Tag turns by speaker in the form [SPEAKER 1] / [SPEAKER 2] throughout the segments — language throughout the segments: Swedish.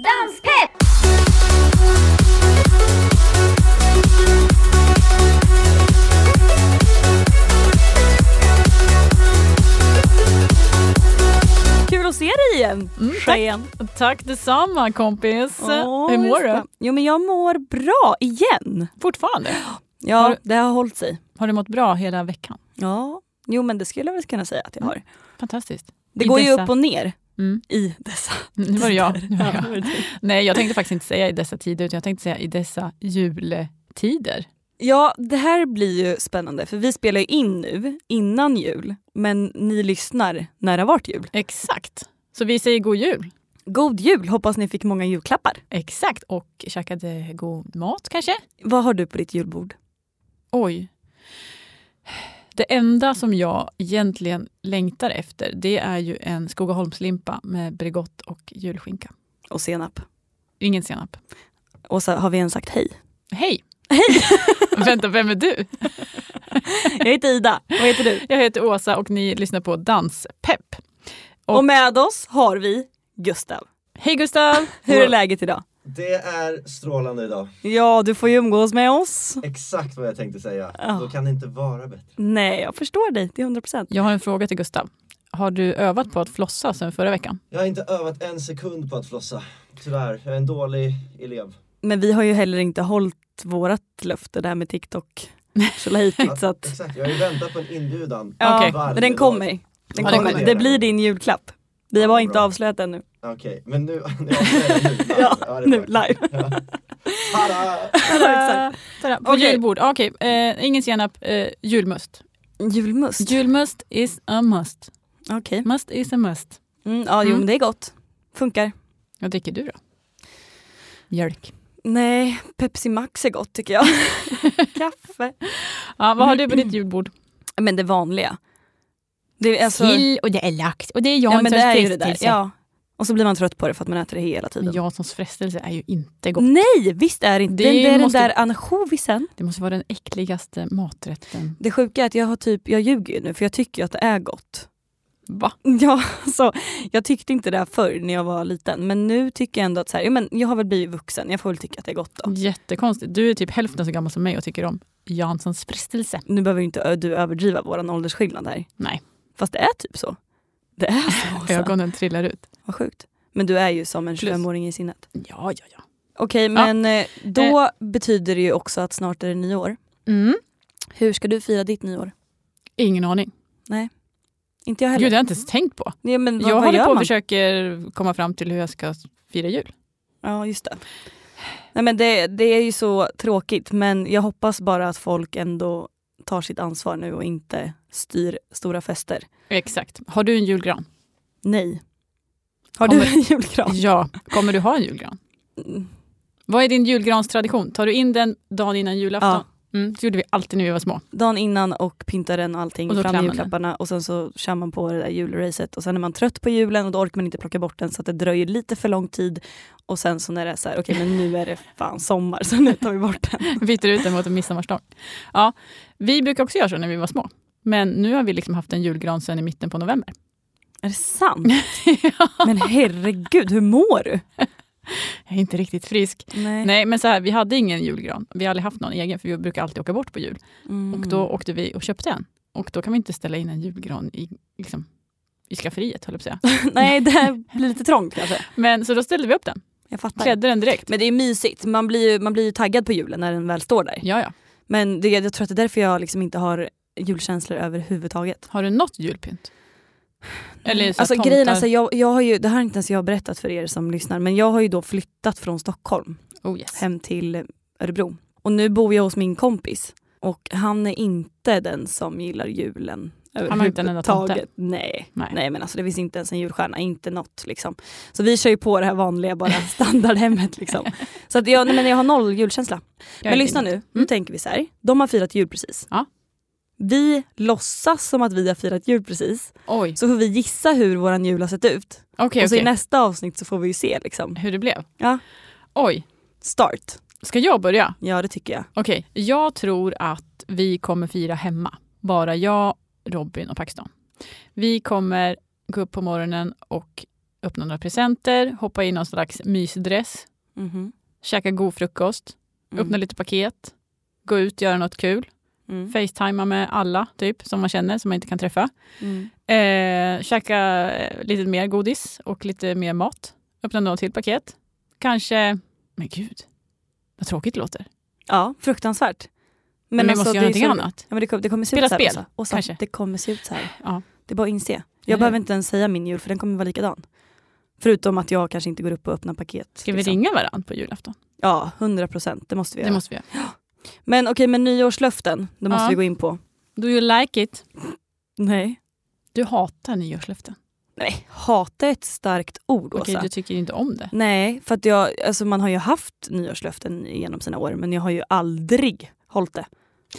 [SPEAKER 1] Danspepp!
[SPEAKER 2] Kul att se dig igen,
[SPEAKER 3] Mm,
[SPEAKER 2] Cheyenne.
[SPEAKER 3] tack. tack detsamma kompis.
[SPEAKER 2] Åh,
[SPEAKER 3] Hur mår
[SPEAKER 2] just det.
[SPEAKER 3] du?
[SPEAKER 2] Jo, men jag mår bra igen.
[SPEAKER 3] Fortfarande?
[SPEAKER 2] Ja,
[SPEAKER 3] Har du-
[SPEAKER 2] det har hållit sig.
[SPEAKER 3] Har du mått bra hela veckan?
[SPEAKER 2] Ja, jo men det skulle jag väl kunna säga att jag har.
[SPEAKER 3] Fantastiskt.
[SPEAKER 2] Det
[SPEAKER 3] Mm. I
[SPEAKER 2] går ju
[SPEAKER 3] dessa-
[SPEAKER 2] upp och ner
[SPEAKER 3] Mm.
[SPEAKER 2] i dessa.
[SPEAKER 3] Nu var det jag. Nu var det
[SPEAKER 2] Ja,
[SPEAKER 3] jag. Nej, jag tänkte faktiskt inte säga i dessa tider, utan jag tänkte säga i dessa jultider.
[SPEAKER 2] Ja, det här blir ju spännande för vi spelar ju in nu innan jul men ni lyssnar när det har varit jul.
[SPEAKER 3] Exakt. Så vi säger god jul.
[SPEAKER 2] God jul! Hoppas ni fick många julklappar.
[SPEAKER 3] Exakt. Och käkade god mat kanske?
[SPEAKER 2] Vad har du på ditt julbord?
[SPEAKER 3] Oj. Det enda som jag egentligen längtar efter, det är ju en Skogaholmslimpa med Bregott och julskinka.
[SPEAKER 2] Och senap.
[SPEAKER 3] Ingen senap.
[SPEAKER 2] Och så har vi en sagt hej.
[SPEAKER 3] Hej! Vänta, vem är du?
[SPEAKER 2] Jag heter Ida. Vad heter du?
[SPEAKER 3] Jag heter Åsa och ni lyssnar på Danspepp.
[SPEAKER 2] Och,
[SPEAKER 3] Och-
[SPEAKER 2] med oss har vi Gustav.
[SPEAKER 3] Hej Gustav!
[SPEAKER 2] Hur är läget idag?
[SPEAKER 4] Det är strålande idag.
[SPEAKER 2] Ja, du får ju umgås med oss.
[SPEAKER 4] Exakt vad jag tänkte säga.
[SPEAKER 2] Ja.
[SPEAKER 4] Då kan det inte vara bättre.
[SPEAKER 2] Nej, jag förstår dig till 100 procent.
[SPEAKER 3] Jag har en fråga till Gustav. Har du övat på att flossa sedan förra veckan?
[SPEAKER 4] Jag har inte övat en sekund på att flossa. Tyvärr, jag är en dålig elev.
[SPEAKER 2] Men vi har ju heller inte hållit vårat löfte där med TikTok. Tjolahejtigt, så att...
[SPEAKER 4] Exakt, jag har ju väntat på en inbjudan.
[SPEAKER 2] Ja,
[SPEAKER 3] Okej.
[SPEAKER 4] varje
[SPEAKER 2] men den
[SPEAKER 4] dag.
[SPEAKER 2] kommer. Den
[SPEAKER 3] Ja, den
[SPEAKER 2] kommer.
[SPEAKER 3] kommer.
[SPEAKER 2] Det blir din julklapp. Vi
[SPEAKER 4] Ja,
[SPEAKER 2] har
[SPEAKER 4] bra.
[SPEAKER 2] inte avslöjat den nu.
[SPEAKER 4] Okej, men nu... nu avslöjar jag nu.
[SPEAKER 2] Ja,
[SPEAKER 4] det är
[SPEAKER 2] nu
[SPEAKER 4] bra.
[SPEAKER 2] live.
[SPEAKER 4] Ja. Tada!
[SPEAKER 2] exakt.
[SPEAKER 3] Tada. På
[SPEAKER 2] Okej.
[SPEAKER 3] julbord, Ah, okej. Eh, ingen senap, eh, julmust.
[SPEAKER 2] Julmust.
[SPEAKER 3] Julmust is a must.
[SPEAKER 2] Okej.
[SPEAKER 3] Must is a must.
[SPEAKER 2] Mm, ja, jo
[SPEAKER 3] Mm.
[SPEAKER 2] men det är gott. Funkar.
[SPEAKER 3] Vad dricker du då? Mjölk.
[SPEAKER 2] Nej, Pepsi Max är gott tycker jag. Kaffe.
[SPEAKER 3] Ja, vad har du på ditt julbord?
[SPEAKER 2] Men det vanliga. Det är alltså...
[SPEAKER 3] och det är lax och det är
[SPEAKER 2] Ja, men det är ju det där.
[SPEAKER 3] frestelse.
[SPEAKER 2] Ja. Och så blir man trött på det för att man äter det hela
[SPEAKER 3] Men
[SPEAKER 2] tiden.
[SPEAKER 3] Janssons frestelse är ju inte gott.
[SPEAKER 2] Nej, visst är det inte. Det,
[SPEAKER 3] Det
[SPEAKER 2] är
[SPEAKER 3] måste-
[SPEAKER 2] den där ansjovisen.
[SPEAKER 3] Det måste vara den äckligaste maträtten.
[SPEAKER 2] Det sjuka är att jag har typ, jag ljuger ju nu för jag tycker ju att det är gott.
[SPEAKER 3] Va?
[SPEAKER 2] Mm, Ja, så jag tyckte inte det här förr när jag var liten men nu tycker jag ändå att så här, ja, men jag har väl blivit vuxen, jag får väl tycka att det är gott då.
[SPEAKER 3] Jättekonstigt. Du är typ hälften så gammal som mig och tycker om Janssons frestelse.
[SPEAKER 2] Nu behöver ju inte ö- du överdriva våran åldersskillnad här.
[SPEAKER 3] Nej.
[SPEAKER 2] Fast det är typ så. Det är så. Åsa.
[SPEAKER 3] Ögonen trillar ut.
[SPEAKER 2] Vad sjukt. Men du är ju som en
[SPEAKER 3] Plus.
[SPEAKER 2] 25-åring i sinnet.
[SPEAKER 3] Ja, ja, ja.
[SPEAKER 2] Okej,
[SPEAKER 3] Ja.
[SPEAKER 2] men eh, då betyder det ju också att snart är det nyår.
[SPEAKER 3] Mm.
[SPEAKER 2] Hur ska du fira ditt nyår?
[SPEAKER 3] Ingen aning.
[SPEAKER 2] Inte jag heller.
[SPEAKER 3] Gud, det har jag inte ens tänkt på.
[SPEAKER 2] Ja, men vad,
[SPEAKER 3] jag
[SPEAKER 2] vad
[SPEAKER 3] håller
[SPEAKER 2] gör
[SPEAKER 3] på och
[SPEAKER 2] man?
[SPEAKER 3] försöker komma fram till hur jag ska fira jul.
[SPEAKER 2] Ja, just det. Nej, men det, det är ju så tråkigt men jag hoppas bara att folk ändå tar sitt ansvar nu och inte styr stora fester.
[SPEAKER 3] Exakt. Har du en julgran?
[SPEAKER 2] Nej. Har du
[SPEAKER 3] Kommer-
[SPEAKER 2] en julgran?
[SPEAKER 3] Ja. Kommer du ha en julgran?
[SPEAKER 2] Mm,
[SPEAKER 3] Vad är din julgranstradition? Tar du in den dagen innan
[SPEAKER 2] Ja,
[SPEAKER 3] julafton? Mm, det gjorde vi alltid när vi var små.
[SPEAKER 2] dagen innan och pyntar den och allting
[SPEAKER 3] Och då
[SPEAKER 2] fram med
[SPEAKER 3] klämmer
[SPEAKER 2] julklapparna och sen så kör man på det där julracet och sen är man trött på julen och då orkar man inte plocka bort den så att det dröjer lite för lång tid och sen så när det är så här, okej men nu är det fan sommar så nu tar vi bort den.
[SPEAKER 3] Byter ut den mot en midsommarstång. Ja, vi brukar också göra så när vi var små. Men nu har vi liksom haft en julgran sedan i mitten på november.
[SPEAKER 2] Är det sant? Men herregud, hur mår du?
[SPEAKER 3] Jag är inte riktigt frisk. Nej, men så här, vi hade ingen julgran. Vi har aldrig haft någon egen, för vi brukar alltid åka bort på jul.
[SPEAKER 2] Mm.
[SPEAKER 3] Och då åkte vi och köpte en. Och då kan vi inte ställa in en julgran i, liksom, i skafferiet, höll jag på att säga.
[SPEAKER 2] Nej, det här blir lite trångt kanske.
[SPEAKER 3] Men så då ställde vi upp den.
[SPEAKER 2] Jag fattar.
[SPEAKER 3] Klädde den direkt.
[SPEAKER 2] Men det är mysigt, man blir, ju, man blir ju taggad på julen när den väl står där.
[SPEAKER 3] Ja, ja.
[SPEAKER 2] Men det, jag tror att det är därför jag liksom inte har julkänslor överhuvudtaget.
[SPEAKER 3] Har du något julpynt? Eller så
[SPEAKER 2] alltså,
[SPEAKER 3] alltså,
[SPEAKER 2] grejen, alltså, jag, jag har ju, det här har inte ens jag berättat för er som lyssnar, men jag har ju då flyttat från Stockholm
[SPEAKER 3] Oh, yes.
[SPEAKER 2] hem till Örebro. Och nu bor jag hos min kompis och han är inte den som gillar julen.
[SPEAKER 3] Han har inte en enda tomte.
[SPEAKER 2] överhuvudtaget. Nej.
[SPEAKER 3] Nej.
[SPEAKER 2] Nej men alltså det finns inte ens en julstjärna, inte något liksom. Så vi kör ju på det här vanliga bara standardhemmet liksom. Så att jag, nej, men jag har noll julkänsla.
[SPEAKER 3] Jag
[SPEAKER 2] men
[SPEAKER 3] är
[SPEAKER 2] lyssna
[SPEAKER 3] fin.
[SPEAKER 2] nu, nu tänker vi så här. De har firat jul precis.
[SPEAKER 3] Ja.
[SPEAKER 2] Vi låtsas som att vi har firat jul precis.
[SPEAKER 3] Oj,
[SPEAKER 2] Så får vi gissa hur våran jul har sett ut.
[SPEAKER 3] okej. Eh.
[SPEAKER 2] Och så i
[SPEAKER 3] okej.
[SPEAKER 2] nästa avsnitt så får vi ju se liksom.
[SPEAKER 3] Hur det blev?
[SPEAKER 2] Ja.
[SPEAKER 3] Oj,
[SPEAKER 2] Start.
[SPEAKER 3] ska jag börja?
[SPEAKER 2] Ja det tycker jag.
[SPEAKER 3] Okej, jag tror att vi kommer fira hemma. Bara jag, Robin och Pakistan. Vi kommer gå upp på morgonen och öppna några presenter, hoppa i någon slags mysdress,
[SPEAKER 2] Mhm.
[SPEAKER 3] käka god frukost,
[SPEAKER 2] Mm.
[SPEAKER 3] öppna lite paket, gå ut, göra något kul,
[SPEAKER 2] Mm.
[SPEAKER 3] facetimea med alla typ som man känner som man inte kan träffa.
[SPEAKER 2] Mm.
[SPEAKER 3] Eh, käka eh, lite mer godis och lite mer mat. Öppna något till paket. Kanske... Men gud, vad tråkigt det låter.
[SPEAKER 2] Ja, fruktansvärt.
[SPEAKER 3] Men, vi
[SPEAKER 2] alltså,
[SPEAKER 3] måste
[SPEAKER 2] det
[SPEAKER 3] göra
[SPEAKER 2] är
[SPEAKER 3] någonting
[SPEAKER 2] så-
[SPEAKER 3] annat.
[SPEAKER 2] Ja, men det, kom, det kommer se
[SPEAKER 3] Spela
[SPEAKER 2] ut så här.
[SPEAKER 3] spel,
[SPEAKER 2] Åsa. Åsa,
[SPEAKER 3] kanske.
[SPEAKER 2] Det kommer se ut så här.
[SPEAKER 3] Ja.
[SPEAKER 2] Det är bara att inse.
[SPEAKER 3] Eller
[SPEAKER 2] Jag behöver
[SPEAKER 3] hur?
[SPEAKER 2] inte ens säga min jul för den kommer vara likadan. Förutom att jag kanske inte går upp och öppnar paket.
[SPEAKER 3] Ska vi
[SPEAKER 2] liksom.
[SPEAKER 3] ringa varandra på julafton?
[SPEAKER 2] Ja, 100 procent. Det måste vi göra.
[SPEAKER 3] Det måste vi göra.
[SPEAKER 2] Men okej, men nyårslöften, det måste
[SPEAKER 3] Ja.
[SPEAKER 2] vi gå in på.
[SPEAKER 3] Do you like it?
[SPEAKER 2] Nej.
[SPEAKER 3] Du hatar nyårslöften.
[SPEAKER 2] Nej, hata är ett starkt ord
[SPEAKER 3] Okej,
[SPEAKER 2] Åsa.
[SPEAKER 3] du tycker inte om det.
[SPEAKER 2] Nej, för att jag, alltså man har ju haft nyårslöften genom sina år men jag har ju aldrig hållit det.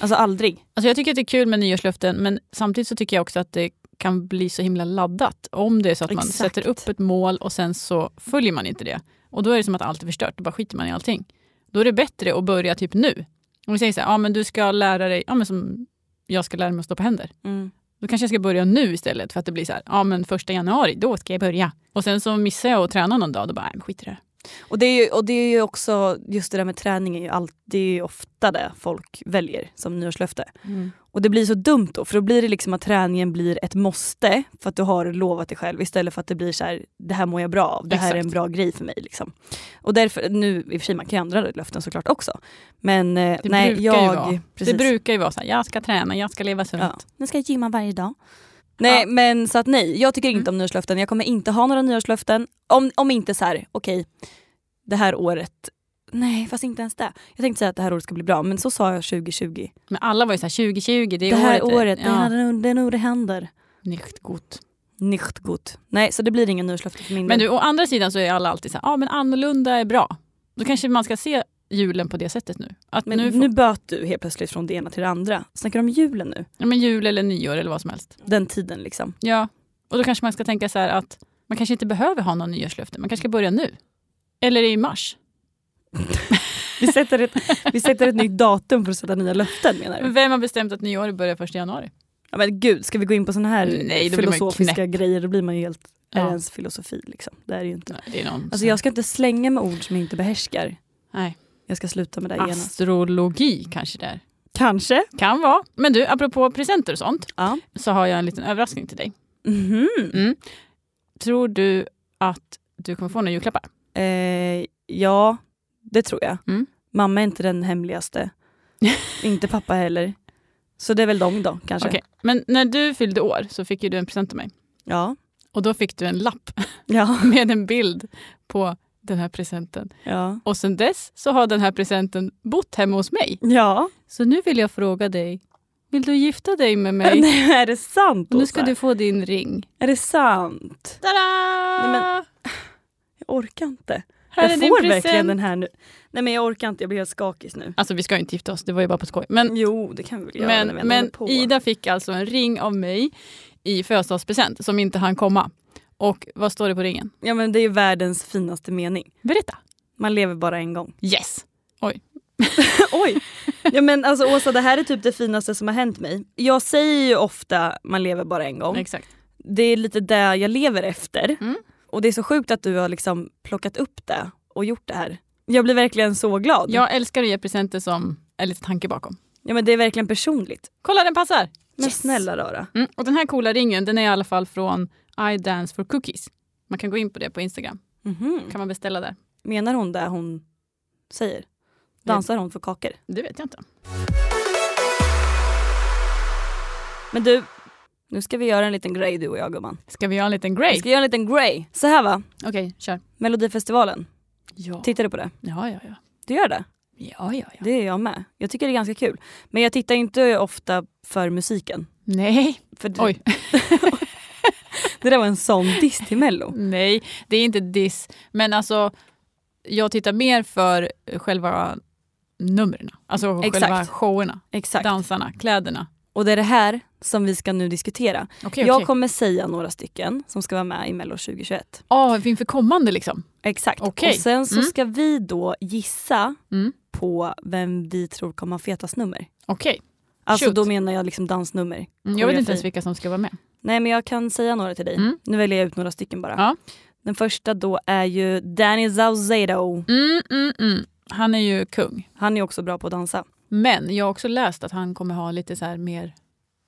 [SPEAKER 2] Alltså aldrig.
[SPEAKER 3] Alltså jag tycker att det är kul med nyårslöften men samtidigt så tycker jag också att det kan bli så himla laddat om det är så att man
[SPEAKER 2] Exakt.
[SPEAKER 3] sätter upp ett mål och sen så följer man inte det. Och då är det som att allt är förstört, då bara skiter man i allting. Då är det bättre att börja typ nu. Om vi säger så här, ja men du ska lära dig, ja men som jag ska lära mig att stå på händer. Då kanske jag ska börja nu istället för att det blir så här, ja men första januari, då ska jag börja. Och sen så missar jag att träna någon dag, då bara, nej men skit i det här.
[SPEAKER 2] Och, det är ju, och det är ju också, just det där med träning är ju, allt, det är ju ofta det folk väljer som nyårslöfte. Och det blir så dumt då, för då blir det liksom att träningen blir ett måste för att du har lovat dig själv istället för att det blir så här, det här mår jag bra av, det här är en
[SPEAKER 3] Exakt.
[SPEAKER 2] bra grej för mig. Liksom. Och därför, nu i och för sig man kan ju ändra löften såklart också. Men eh,
[SPEAKER 3] Det
[SPEAKER 2] nej,
[SPEAKER 3] brukar
[SPEAKER 2] jag...
[SPEAKER 3] ju vara.
[SPEAKER 2] precis.
[SPEAKER 3] Det brukar ju vara så här, jag ska träna, jag ska leva sunt.
[SPEAKER 2] ja. Nu ska jag gymma varje dag. Nej men så att nej, jag tycker
[SPEAKER 3] Mm.
[SPEAKER 2] inte om nyårslöften. Jag kommer inte ha några nyårslöften. Om, om inte så här, okej, det här året, nej fast inte ens det. Jag tänkte säga att det här året ska bli bra men så sa jag 2020.
[SPEAKER 3] Men alla var ju så här 2020, det
[SPEAKER 2] Det,
[SPEAKER 3] är
[SPEAKER 2] här
[SPEAKER 3] året.
[SPEAKER 2] året, det,
[SPEAKER 3] ja.
[SPEAKER 2] här, det är nog det händer.
[SPEAKER 3] Nicht gut.
[SPEAKER 2] Nicht gut. Nej, så det blir ingen nyårslöfte för min
[SPEAKER 3] Men
[SPEAKER 2] del.
[SPEAKER 3] du, å andra sidan så är alla alltid så här, ah, men annorlunda är bra. Då kanske man ska se julen på det sättet nu. Att
[SPEAKER 2] Men
[SPEAKER 3] nu
[SPEAKER 2] nu,
[SPEAKER 3] får,
[SPEAKER 2] böt du helt plötsligt från det ena till det andra. Snackar du om julen nu?
[SPEAKER 3] Ja, men jul eller nyår eller vad som helst.
[SPEAKER 2] Den tiden liksom.
[SPEAKER 3] Ja. Och då kanske man ska tänka så här att man kanske inte behöver ha någon nyårslöfte, man kanske ska börja nu. Eller i mars.
[SPEAKER 2] Vi sätter ett, vi sätter ett nytt datum för att sätta nya löften menar du?
[SPEAKER 3] Men Vem har bestämt att nyår börjar första januari?
[SPEAKER 2] Ja, men gud, ska vi gå in på såna här
[SPEAKER 3] Nej, då blir man ju
[SPEAKER 2] filosofiska grejer då blir man ju helt... Är
[SPEAKER 3] Ja.
[SPEAKER 2] det ens filosofi liksom? Det är det ju inte.
[SPEAKER 3] Nej, det är någon
[SPEAKER 2] Alltså jag ska inte slänga med ord som jag inte behärskar.
[SPEAKER 3] Nej.
[SPEAKER 2] Jag ska sluta med det genast.
[SPEAKER 3] Astrologi kanske där.
[SPEAKER 2] Kanske.
[SPEAKER 3] Kan vara. Men du, apropå presenter och sånt,
[SPEAKER 2] Ja.
[SPEAKER 3] så har jag en liten överraskning till dig.
[SPEAKER 2] Mhm.
[SPEAKER 3] Mm. Tror du att du kommer få några julklappar?
[SPEAKER 2] Eh, ja, det tror jag.
[SPEAKER 3] Mm.
[SPEAKER 2] Mamma är inte den hemligaste. inte pappa heller. Så det är väl de då kanske.
[SPEAKER 3] Okej. Men när du fyllde år så fick ju du en present av mig.
[SPEAKER 2] Ja.
[SPEAKER 3] Och då fick du en lapp
[SPEAKER 2] Ja.
[SPEAKER 3] med en bild på den här presenten.
[SPEAKER 2] Ja.
[SPEAKER 3] Och sen dess så har den här presenten bott hemma hos mig.
[SPEAKER 2] ja.
[SPEAKER 3] Så nu vill jag fråga dig, vill du gifta dig med mig?
[SPEAKER 2] Nej, är det sant
[SPEAKER 3] Och nu ska
[SPEAKER 2] Åsa?
[SPEAKER 3] du få din ring.
[SPEAKER 2] Är det sant?
[SPEAKER 3] Tada!
[SPEAKER 2] Nej, men- Jag orkar inte.
[SPEAKER 3] här är
[SPEAKER 2] jag
[SPEAKER 3] din
[SPEAKER 2] får
[SPEAKER 3] present.
[SPEAKER 2] verkligen den här nu. Nej men jag orkar inte, jag blir helt skakig nu.
[SPEAKER 3] Alltså vi ska ju inte gifta oss, det var ju bara på skoj. Men,
[SPEAKER 2] Jo, det kan vi väl göra när vi
[SPEAKER 3] Mm. men,
[SPEAKER 2] ändå håller
[SPEAKER 3] men
[SPEAKER 2] på.
[SPEAKER 3] Ida fick alltså en ring av mig i födelsedagspresent som inte hann komma. Och vad står det på ringen?
[SPEAKER 2] Ja men det är världens finaste mening.
[SPEAKER 3] Berätta.
[SPEAKER 2] Man lever bara en gång.
[SPEAKER 3] Yes.
[SPEAKER 2] Oj! Ja men alltså Åsa, det här är typ det finaste som har hänt mig. Jag säger ju ofta man lever bara en gång.
[SPEAKER 3] Exakt.
[SPEAKER 2] Det är lite det jag lever efter.
[SPEAKER 3] Mm.
[SPEAKER 2] Och det är så sjukt att du har liksom plockat upp det och gjort det här. Jag blir verkligen så glad.
[SPEAKER 3] Jag älskar att ge presenter som är lite tanke bakom.
[SPEAKER 2] Ja, men det är verkligen personligt.
[SPEAKER 3] Kolla den passar!
[SPEAKER 2] Men
[SPEAKER 3] Yes.
[SPEAKER 2] snälla rara.
[SPEAKER 3] Mm. Och den här coola ringen den är i alla fall från I Dance for Cookies. Man kan gå in på det på Instagram. Kan man beställa där?
[SPEAKER 2] Menar hon det hon säger? Dansar hon för kakor?
[SPEAKER 3] Det vet jag inte.
[SPEAKER 2] Men du, nu ska vi göra en liten grej du och jag gumman.
[SPEAKER 3] Ska vi göra en liten
[SPEAKER 2] Vi
[SPEAKER 3] grej?
[SPEAKER 2] ska göra en liten grej. Så här va,
[SPEAKER 3] Okej, kör.
[SPEAKER 2] Melodifestivalen.
[SPEAKER 3] Ja.
[SPEAKER 2] Tittar du på det?
[SPEAKER 3] ja, ja, ja.
[SPEAKER 2] Du gör det?
[SPEAKER 3] Ja, ja, ja.
[SPEAKER 2] Det är jag med. Jag tycker det är ganska kul. Men jag tittar inte ofta för musiken.
[SPEAKER 3] Nej.
[SPEAKER 2] För det,
[SPEAKER 3] Oj.
[SPEAKER 2] det där var en sån diss till Mello.
[SPEAKER 3] Nej, det är inte diss. Men alltså, jag tittar mer för själva numren. Alltså
[SPEAKER 2] Exakt.
[SPEAKER 3] själva showerna,
[SPEAKER 2] Exakt.
[SPEAKER 3] dansarna, kläderna.
[SPEAKER 2] Och det är det här som vi ska nu diskutera.
[SPEAKER 3] Okej,
[SPEAKER 2] Jag
[SPEAKER 3] okej.
[SPEAKER 2] kommer säga några stycken som ska vara med i Mello 2021.
[SPEAKER 3] Ja, Ah, inför kommande liksom.
[SPEAKER 2] Exakt.
[SPEAKER 3] Okej.
[SPEAKER 2] Och sen så
[SPEAKER 3] Mm.
[SPEAKER 2] ska vi då gissa
[SPEAKER 3] Mm.
[SPEAKER 2] på vem vi tror kommer ha fetast nummer.
[SPEAKER 3] Okej.
[SPEAKER 2] Alltså
[SPEAKER 3] Shoot.
[SPEAKER 2] då menar jag liksom dansnummer.
[SPEAKER 3] Mm, Jag vet
[SPEAKER 2] Koreografi.
[SPEAKER 3] inte ens vilka som ska vara med.
[SPEAKER 2] Nej men jag kan säga några till dig.
[SPEAKER 3] Mm.
[SPEAKER 2] Nu väljer jag ut några stycken bara.
[SPEAKER 3] Ja.
[SPEAKER 2] Den första då är ju Danny Saucedo.
[SPEAKER 3] Mm, mm, mm. Han är ju kung.
[SPEAKER 2] Han är också bra på att dansa.
[SPEAKER 3] Men jag har också läst att han kommer ha lite så här mer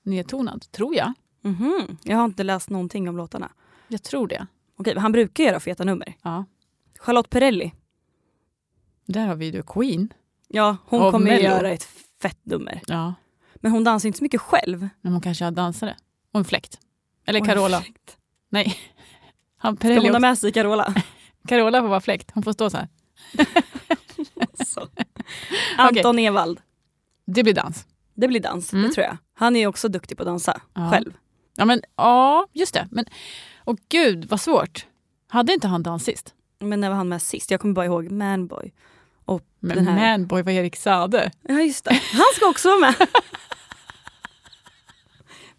[SPEAKER 3] nedtonad, tror jag.
[SPEAKER 2] Mhm. Jag har inte läst någonting om låtarna.
[SPEAKER 3] Jag tror det.
[SPEAKER 2] Okej, men han brukar göra feta nummer.
[SPEAKER 3] Ja.
[SPEAKER 2] Charlotte Perrelli.
[SPEAKER 3] Där har vi ju Queen.
[SPEAKER 2] Ja, hon
[SPEAKER 3] Av
[SPEAKER 2] kommer ju
[SPEAKER 3] Mello.
[SPEAKER 2] göra ett fett nummer.
[SPEAKER 3] Ja.
[SPEAKER 2] Men hon dansar inte så mycket själv.
[SPEAKER 3] Men hon kanske har dansare. Och en fläkt. Eller
[SPEAKER 2] Oj,
[SPEAKER 3] Carola.
[SPEAKER 2] fräckt.
[SPEAKER 3] Nej. Han
[SPEAKER 2] Ska
[SPEAKER 3] Perrelli
[SPEAKER 2] hon ha
[SPEAKER 3] också.
[SPEAKER 2] med sig Carola?
[SPEAKER 3] Carola får vara fläkt. Hon får stå så här.
[SPEAKER 2] Så. Anton Ewald.
[SPEAKER 3] Det blir dans.
[SPEAKER 2] Det blir dans,
[SPEAKER 3] Mm.
[SPEAKER 2] det tror jag. Han är ju också duktig på att dansa
[SPEAKER 3] Ja.
[SPEAKER 2] själv.
[SPEAKER 3] Ja, men, ja just det. Men, och gud vad svårt. Hade inte han dans sist?
[SPEAKER 2] Men när var han med sist? Jag kommer bara ihåg Manboy.
[SPEAKER 3] Men
[SPEAKER 2] Den här-
[SPEAKER 3] Manboy var Erik Sade.
[SPEAKER 2] Ja just det, han ska också vara med.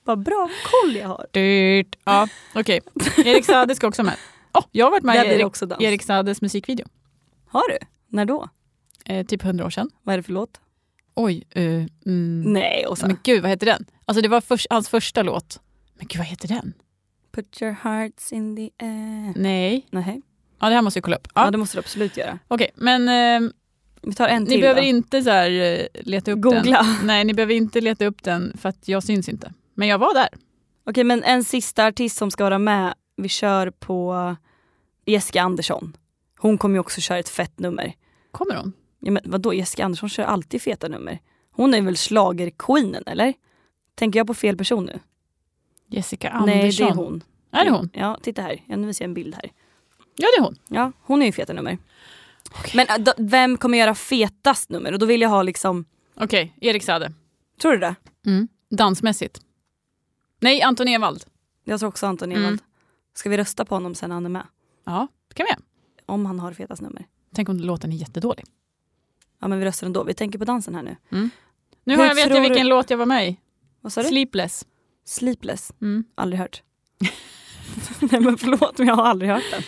[SPEAKER 2] Vad bra koll jag har.
[SPEAKER 3] Dyrt. Ja, okej. Erik Sade ska också med. Åh, jag har varit med
[SPEAKER 2] Där
[SPEAKER 3] i
[SPEAKER 2] blir det
[SPEAKER 3] Erik,
[SPEAKER 2] också dans.
[SPEAKER 3] Erik Sades musikvideo.
[SPEAKER 2] Har du? När då?
[SPEAKER 3] Eh, typ hundra år sedan.
[SPEAKER 2] Vad är det för låt?
[SPEAKER 3] Oj. Eh, mm.
[SPEAKER 2] Nej, och så.
[SPEAKER 3] Men gud, vad heter den? Alltså det var förs- hans första låt. Men gud, vad heter den?
[SPEAKER 2] Put your hearts in the air.
[SPEAKER 3] Nej.
[SPEAKER 2] Nej.
[SPEAKER 3] Ja, det här måste jag kolla upp.
[SPEAKER 2] Ja.
[SPEAKER 3] Mm. Ja,
[SPEAKER 2] det måste du absolut göra.
[SPEAKER 3] Okej, men eh,
[SPEAKER 2] Vi tar en till
[SPEAKER 3] ni behöver
[SPEAKER 2] då.
[SPEAKER 3] inte så här, eh, leta upp den.
[SPEAKER 2] Googla.
[SPEAKER 3] Nej, ni behöver inte leta upp den för att jag syns inte. Men jag var där.
[SPEAKER 2] Okej, men en sista artist som ska vara med. Vi kör på Jessica Andersson. Hon kommer ju också köra ett fett nummer.
[SPEAKER 3] Kommer hon?
[SPEAKER 2] Ja, men vadå, Jessica Andersson kör alltid feta nummer. Hon är väl schlagerqueenen eller? Tänker jag på fel person nu?
[SPEAKER 3] Jessica Andersson?
[SPEAKER 2] Nej, det är hon.
[SPEAKER 3] Är det hon?
[SPEAKER 2] Ja, titta här. Ja, nu visar jag en bild här.
[SPEAKER 3] Ja, det är hon.
[SPEAKER 2] Ja, hon är ju feta nummer.
[SPEAKER 3] Okej.
[SPEAKER 2] Men äh, då, vem kommer göra fetast nummer? Och då vill jag ha liksom,
[SPEAKER 3] Okej, Erik Sade.
[SPEAKER 2] tror du det?
[SPEAKER 3] Dansmässigt. Nej, Anton Ewald.
[SPEAKER 2] Jag tror också Anton
[SPEAKER 3] Mm.
[SPEAKER 2] Ewald. Ska vi rösta på honom sen när han är med?
[SPEAKER 3] Ja, det kan vi göra.
[SPEAKER 2] Om han har fetast nummer.
[SPEAKER 3] Tänk om låten är jättedålig.
[SPEAKER 2] Ja men vi röstar ändå. Vi tänker på dansen här nu.
[SPEAKER 3] Nu
[SPEAKER 2] Hur
[SPEAKER 3] har jag vet
[SPEAKER 2] tror
[SPEAKER 3] jag vilken
[SPEAKER 2] du-
[SPEAKER 3] låt jag var med i.
[SPEAKER 2] Vad sa du?
[SPEAKER 3] Sleepless.
[SPEAKER 2] Sleepless.
[SPEAKER 3] Mm.
[SPEAKER 2] Aldrig hört. Nej men förlåt men jag har aldrig hört den.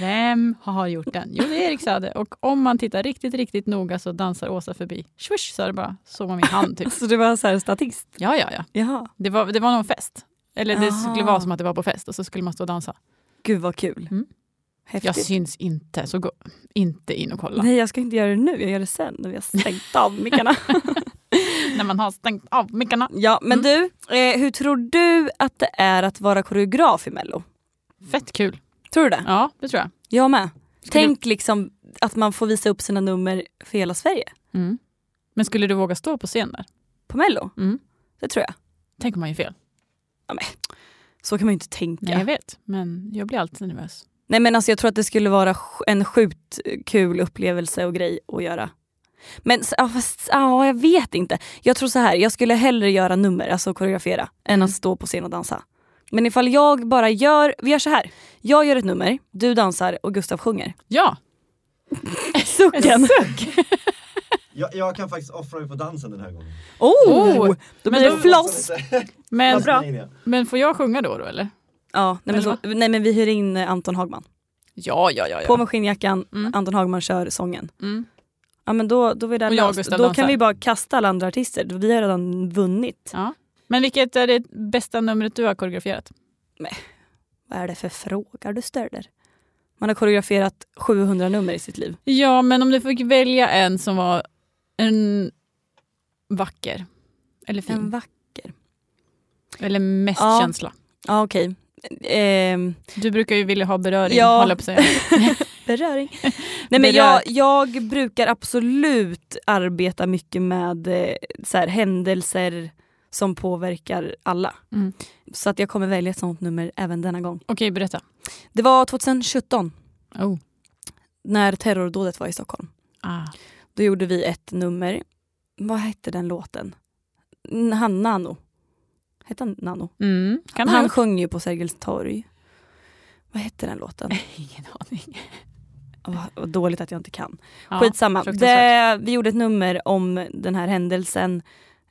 [SPEAKER 3] Vem har gjort den? Jo, det är Erik Sade. Och om man tittar riktigt, riktigt noga så dansar Åsa förbi. Swish, sa det bara. Så var min hand typ.
[SPEAKER 2] Så du var så här statist?
[SPEAKER 3] Ja, ja, ja.
[SPEAKER 2] Jaha.
[SPEAKER 3] Det var, det var någon fest. Eller det
[SPEAKER 2] Aha.
[SPEAKER 3] skulle vara som att det var på fest och så skulle man stå och dansa.
[SPEAKER 2] Gud vad kul.
[SPEAKER 3] Mm.
[SPEAKER 2] Häftigt.
[SPEAKER 3] Jag syns inte, så gå inte in och kolla.
[SPEAKER 2] Nej jag ska inte göra det nu, jag gör det sen när vi har stängt av mickarna.
[SPEAKER 3] När man har stängt av mickarna.
[SPEAKER 2] ja men du, eh, hur tror du att det är att vara koreograf i mello?
[SPEAKER 3] Fett kul.
[SPEAKER 2] Tror du det?
[SPEAKER 3] Ja, det tror jag.
[SPEAKER 2] Jag med.
[SPEAKER 3] Skulle-
[SPEAKER 2] Tänk liksom att man får visa upp sina nummer för hela Sverige
[SPEAKER 3] Mm. Men skulle du våga stå på scen där?
[SPEAKER 2] på mello.
[SPEAKER 3] Mm.
[SPEAKER 2] Det tror jag.
[SPEAKER 3] Tänk om man gör fel.
[SPEAKER 2] Så kan man ju inte tänka.
[SPEAKER 3] Nej,
[SPEAKER 2] Nej,
[SPEAKER 3] jag vet. Men jag blir alltid nervös.
[SPEAKER 2] men alltså jag tror att det skulle vara sj- en sjukt kul upplevelse och grej att göra. Men s- ja, fast, ja, jag vet inte. Jag tror så här, jag skulle hellre göra nummer, alltså koreografera, än
[SPEAKER 3] Mm.
[SPEAKER 2] att stå på scen och dansa. Men ifall jag bara gör, vi gör så här. Jag gör ett nummer, du dansar och Gustav sjunger.
[SPEAKER 3] Ja!
[SPEAKER 2] Sucken!
[SPEAKER 4] Jag, jag kan faktiskt offra mig på dansen den här gången.
[SPEAKER 2] Oh!
[SPEAKER 3] Oh,
[SPEAKER 2] då
[SPEAKER 3] men
[SPEAKER 2] blir
[SPEAKER 3] då-
[SPEAKER 2] det floss!
[SPEAKER 3] Men,
[SPEAKER 2] Vad bra.
[SPEAKER 3] men får jag sjunga då, då eller?
[SPEAKER 2] Ja, nej, men så, nej men vi hyr in eh, Anton Hagman.
[SPEAKER 3] Ja, ja, ja.
[SPEAKER 2] På
[SPEAKER 3] ja.
[SPEAKER 2] med skinnjackan,
[SPEAKER 3] Mm.
[SPEAKER 2] Anton Hagman kör sången.
[SPEAKER 3] Mm.
[SPEAKER 2] Ja men då, då, är det
[SPEAKER 3] Och jag och
[SPEAKER 2] löst.
[SPEAKER 3] Gustav
[SPEAKER 2] då
[SPEAKER 3] dansar.
[SPEAKER 2] kan vi bara kasta alla andra artister, vi har redan vunnit.
[SPEAKER 3] Ja. Men vilket är det bästa numret du har koreograferat?
[SPEAKER 2] Vad är det för fråga du ställer? Man har koreograferat 700 nummer i sitt liv.
[SPEAKER 3] Ja, men om du fick välja en som var en vacker eller fin
[SPEAKER 2] En vack...
[SPEAKER 3] eller mest
[SPEAKER 2] Ja.
[SPEAKER 3] känsla.
[SPEAKER 2] Ja okej. Ehm,
[SPEAKER 3] Du brukar ju vilja ha beröring,
[SPEAKER 2] Ja.
[SPEAKER 3] håller jag på att säga.
[SPEAKER 2] beröring. Nej men
[SPEAKER 3] Berör.
[SPEAKER 2] jag, jag brukar absolut arbeta mycket med eh, så här, händelser som påverkar alla.
[SPEAKER 3] Mm.
[SPEAKER 2] Så att jag kommer välja ett sånt nummer även denna gång.
[SPEAKER 3] Okej, berätta.
[SPEAKER 2] Det var 2017
[SPEAKER 3] Oh.
[SPEAKER 2] när terrordådet var i Stockholm.
[SPEAKER 3] Ah.
[SPEAKER 2] Då gjorde vi ett nummer. Vad hette den låten? N- Han Nano. Hette han Nano?
[SPEAKER 3] Mm. Kan
[SPEAKER 2] han
[SPEAKER 3] han?
[SPEAKER 2] sjöng ju på Sergels torg. Vad hette den låten?
[SPEAKER 3] Ingen aning.
[SPEAKER 2] Vad vad dåligt att jag inte kan.
[SPEAKER 3] Ja.
[SPEAKER 2] Skitsamma. Det,
[SPEAKER 3] fruktansvärt.
[SPEAKER 2] vi gjorde ett nummer om den här händelsen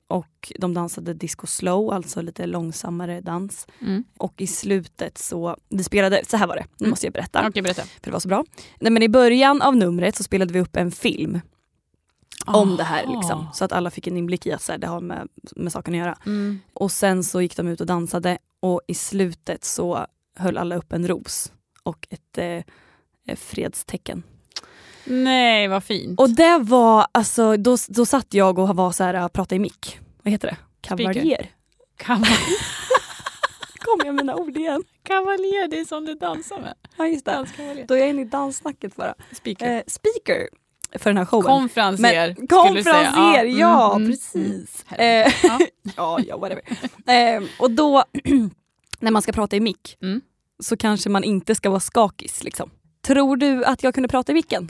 [SPEAKER 2] och de dansade disco slow, alltså lite långsammare dans.
[SPEAKER 3] Mm.
[SPEAKER 2] Och i slutet så, vi spelade, så här var det, nu
[SPEAKER 3] Mm.
[SPEAKER 2] måste jag berätta.
[SPEAKER 3] Okej, berätta.
[SPEAKER 2] För det var så bra. Nej, men I början av numret så spelade vi upp en film om det här. Liksom,
[SPEAKER 3] Aha.
[SPEAKER 2] så att alla fick en inblick i att så här, det har med, med saken att göra.
[SPEAKER 3] Mm.
[SPEAKER 2] Och sen så gick de ut och dansade och i slutet så höll alla upp en ros och ett eh, fredstecken.
[SPEAKER 3] Nej, vad fint.
[SPEAKER 2] Och det var, alltså, då, då satt jag och var så här, pratade i mick. Vad heter det?
[SPEAKER 3] Speaker.
[SPEAKER 2] Kavaljer.
[SPEAKER 3] Kaval-
[SPEAKER 2] Kom jag mina ord igen?
[SPEAKER 3] kavaljer, det är som du dansar med.
[SPEAKER 2] Ja just det.
[SPEAKER 3] Danskavaljer.
[SPEAKER 2] Då är jag inne i danssnacket bara.
[SPEAKER 3] Speaker.
[SPEAKER 2] Eh, speaker för den här showen.
[SPEAKER 3] Konferensier
[SPEAKER 2] Men-
[SPEAKER 3] skulle du säga.
[SPEAKER 2] konferensier, ja,
[SPEAKER 3] mm, mm,
[SPEAKER 2] precis.
[SPEAKER 3] mm.
[SPEAKER 2] Eh,
[SPEAKER 3] Ja.
[SPEAKER 2] ja, ja, whatever. Eh, och då, när man ska prata i mick,
[SPEAKER 3] Mm.
[SPEAKER 2] så kanske man inte ska vara skakis. Liksom. Tror du att jag kunde prata i micken?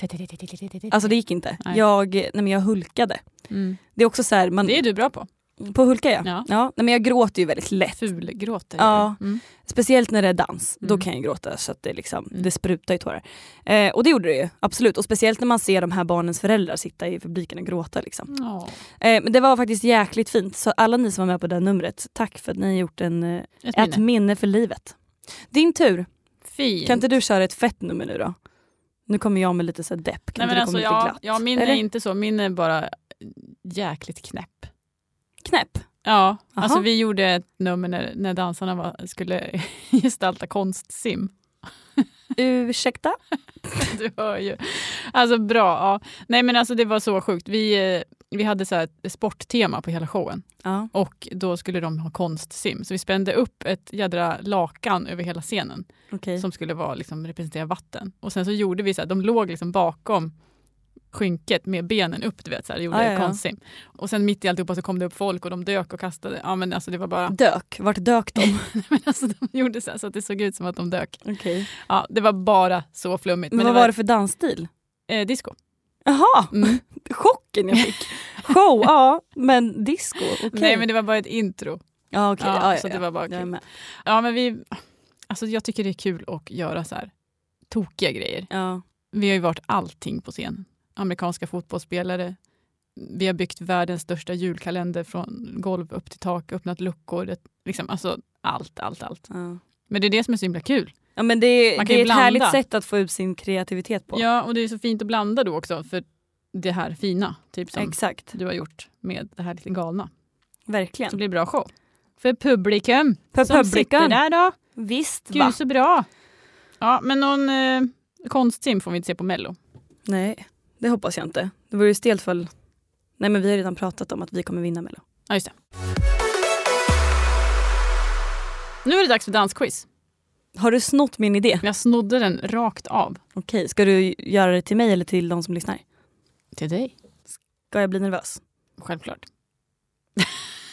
[SPEAKER 2] Alltså det gick inte.
[SPEAKER 3] Nej.
[SPEAKER 2] Jag, nej, men jag hulkade.
[SPEAKER 3] Mm.
[SPEAKER 2] Det är också så här, man,
[SPEAKER 3] Det är du bra på.
[SPEAKER 2] på att hulka ja.
[SPEAKER 3] Ja.
[SPEAKER 2] ja nej, men jag gråter ju väldigt lätt.
[SPEAKER 3] Fulgråter.
[SPEAKER 2] Ja.
[SPEAKER 3] Mm.
[SPEAKER 2] Speciellt när det är dans, då
[SPEAKER 3] Mm.
[SPEAKER 2] kan jag gråta så att det, liksom,
[SPEAKER 3] Mm.
[SPEAKER 2] det sprutar ju tårar. Eh, och det gjorde det ju, absolut. Och speciellt när man ser de här barnens föräldrar sitta i publiken och gråta. Liksom.
[SPEAKER 3] Ja.
[SPEAKER 2] Eh, men det var faktiskt jäkligt fint. Så alla ni som var med på det här numret, tack för att ni har gjort en, eh,
[SPEAKER 3] Ett
[SPEAKER 2] ett
[SPEAKER 3] minne.
[SPEAKER 2] minne för livet. Din tur.
[SPEAKER 3] Fint.
[SPEAKER 2] Kan inte du köra ett fett nummer nu då? Nu kommer jag med lite så här depp. Kan
[SPEAKER 3] Nej,
[SPEAKER 2] inte
[SPEAKER 3] men
[SPEAKER 2] du
[SPEAKER 3] alltså,
[SPEAKER 2] komma lite
[SPEAKER 3] ja,
[SPEAKER 2] glatt?
[SPEAKER 3] ja, min är
[SPEAKER 2] Eller?
[SPEAKER 3] inte så. Min är bara jäkligt knäpp.
[SPEAKER 2] Knäpp.
[SPEAKER 3] Ja,
[SPEAKER 2] Aha.
[SPEAKER 3] alltså vi gjorde ett nummer när, när dansarna var, skulle gestalta konstsim.
[SPEAKER 2] Ursäkta?
[SPEAKER 3] Du hör ju. Alltså bra. Ja. Nej men alltså det var så sjukt. Vi, eh, vi hade så här ett sporttema på hela showen
[SPEAKER 2] Ja.
[SPEAKER 3] och då skulle de ha konstsim. Så vi spände upp ett jädra lakan över hela scenen
[SPEAKER 2] Okej.
[SPEAKER 3] som skulle vara, liksom, representera vatten. Och sen så gjorde vi så här, de låg liksom bakom skynket med benen upp, du vet, så här, gjorde
[SPEAKER 2] Ah, ja, ja.
[SPEAKER 3] konstsim. Och sen mitt i alltihopa så kom det upp folk och de dök och kastade. Ja men alltså det var bara,
[SPEAKER 2] Dök. Vart dök de?
[SPEAKER 3] men alltså de gjorde så här så att det såg ut som att de dök.
[SPEAKER 2] Okej.
[SPEAKER 3] Ja, det var bara så flummigt.
[SPEAKER 2] Men, vad
[SPEAKER 3] det
[SPEAKER 2] var det för dansstil?
[SPEAKER 3] eh, disco.
[SPEAKER 2] Jaha,
[SPEAKER 3] Mm.
[SPEAKER 2] chocken jag fick. Show, ja. Men disco, okej.
[SPEAKER 3] Nej men det var bara ett intro.
[SPEAKER 2] Ja, okej.
[SPEAKER 3] ja,
[SPEAKER 2] Ja, ja,
[SPEAKER 3] så
[SPEAKER 2] ja.
[SPEAKER 3] det var bara
[SPEAKER 2] Jag är
[SPEAKER 3] kul.
[SPEAKER 2] med.
[SPEAKER 3] Ja men vi, alltså jag tycker det är kul att göra så här tokiga grejer.
[SPEAKER 2] Ja.
[SPEAKER 3] Vi har ju varit allting på scen. Amerikanska fotbollsspelare, vi har byggt världens största julkalender från golv upp till tak, öppnat luckor, det, liksom, alltså allt, allt, allt.
[SPEAKER 2] Ja.
[SPEAKER 3] Men det är det som är så himla kul.
[SPEAKER 2] Ja, men det är,
[SPEAKER 3] Man kan
[SPEAKER 2] det
[SPEAKER 3] ju
[SPEAKER 2] är ett
[SPEAKER 3] blanda.
[SPEAKER 2] härligt sätt att få ut sin kreativitet på.
[SPEAKER 3] Ja och det är så fint att blanda då också för det här fina, typ som
[SPEAKER 2] Exakt,
[SPEAKER 3] du har gjort med det här lite galna. Så
[SPEAKER 2] verkligen.
[SPEAKER 3] blir det bra show. För publiken
[SPEAKER 2] För
[SPEAKER 3] som sitter
[SPEAKER 2] publiken.
[SPEAKER 3] där då.
[SPEAKER 2] Visst va?
[SPEAKER 3] Gud så bra. Ja, men någon eh, konstsim får vi inte se på Mello.
[SPEAKER 2] Nej, det hoppas jag inte. Det vore ju stelt fall. Nej men vi har redan pratat om att vi kommer vinna Mello.
[SPEAKER 3] Ja, just det. Nu är det dags för dansquiz.
[SPEAKER 2] Har du snott min idé?
[SPEAKER 3] Jag snodde den rakt av.
[SPEAKER 2] Okej, ska du göra det till mig eller till de som lyssnar?
[SPEAKER 3] Till dig?
[SPEAKER 2] Ska jag bli nervös?
[SPEAKER 3] Självklart.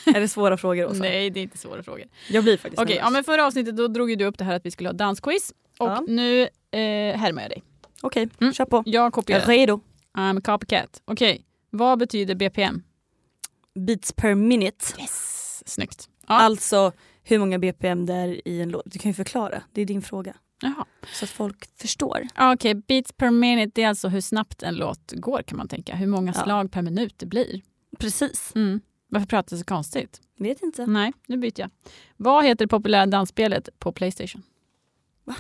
[SPEAKER 2] Är det svåra frågor Åsa?
[SPEAKER 3] Nej, det är inte svåra frågor.
[SPEAKER 2] Jag blir faktiskt
[SPEAKER 3] Okej,
[SPEAKER 2] nervös.
[SPEAKER 3] ja, men förra avsnittet då drog ju du upp det här att vi skulle ha dansquiz. Och
[SPEAKER 2] Ja.
[SPEAKER 3] nu eh, härmar jag dig.
[SPEAKER 2] Okej,
[SPEAKER 3] Mm.
[SPEAKER 2] kör på.
[SPEAKER 3] Jag
[SPEAKER 2] Jag är
[SPEAKER 3] kopierar.
[SPEAKER 2] redo.
[SPEAKER 3] I'm a copycat. Okej, vad betyder BPM?
[SPEAKER 2] Beats per minute.
[SPEAKER 3] Yes! Snyggt. Ja.
[SPEAKER 2] Alltså hur många BPM det är i en låt. Du kan ju förklara, det är din fråga.
[SPEAKER 3] Jaha.
[SPEAKER 2] Så att folk förstår.
[SPEAKER 3] Ja, Okej, beats per minute det är alltså hur snabbt en låt går kan man tänka. Hur många
[SPEAKER 2] Ja.
[SPEAKER 3] slag per minut det blir.
[SPEAKER 2] Precis. Mm.
[SPEAKER 3] Varför pratar du så konstigt?
[SPEAKER 2] Vet inte.
[SPEAKER 3] Nej, nu byter jag. Vad heter det populära dansspelet på Playstation?
[SPEAKER 2] Va?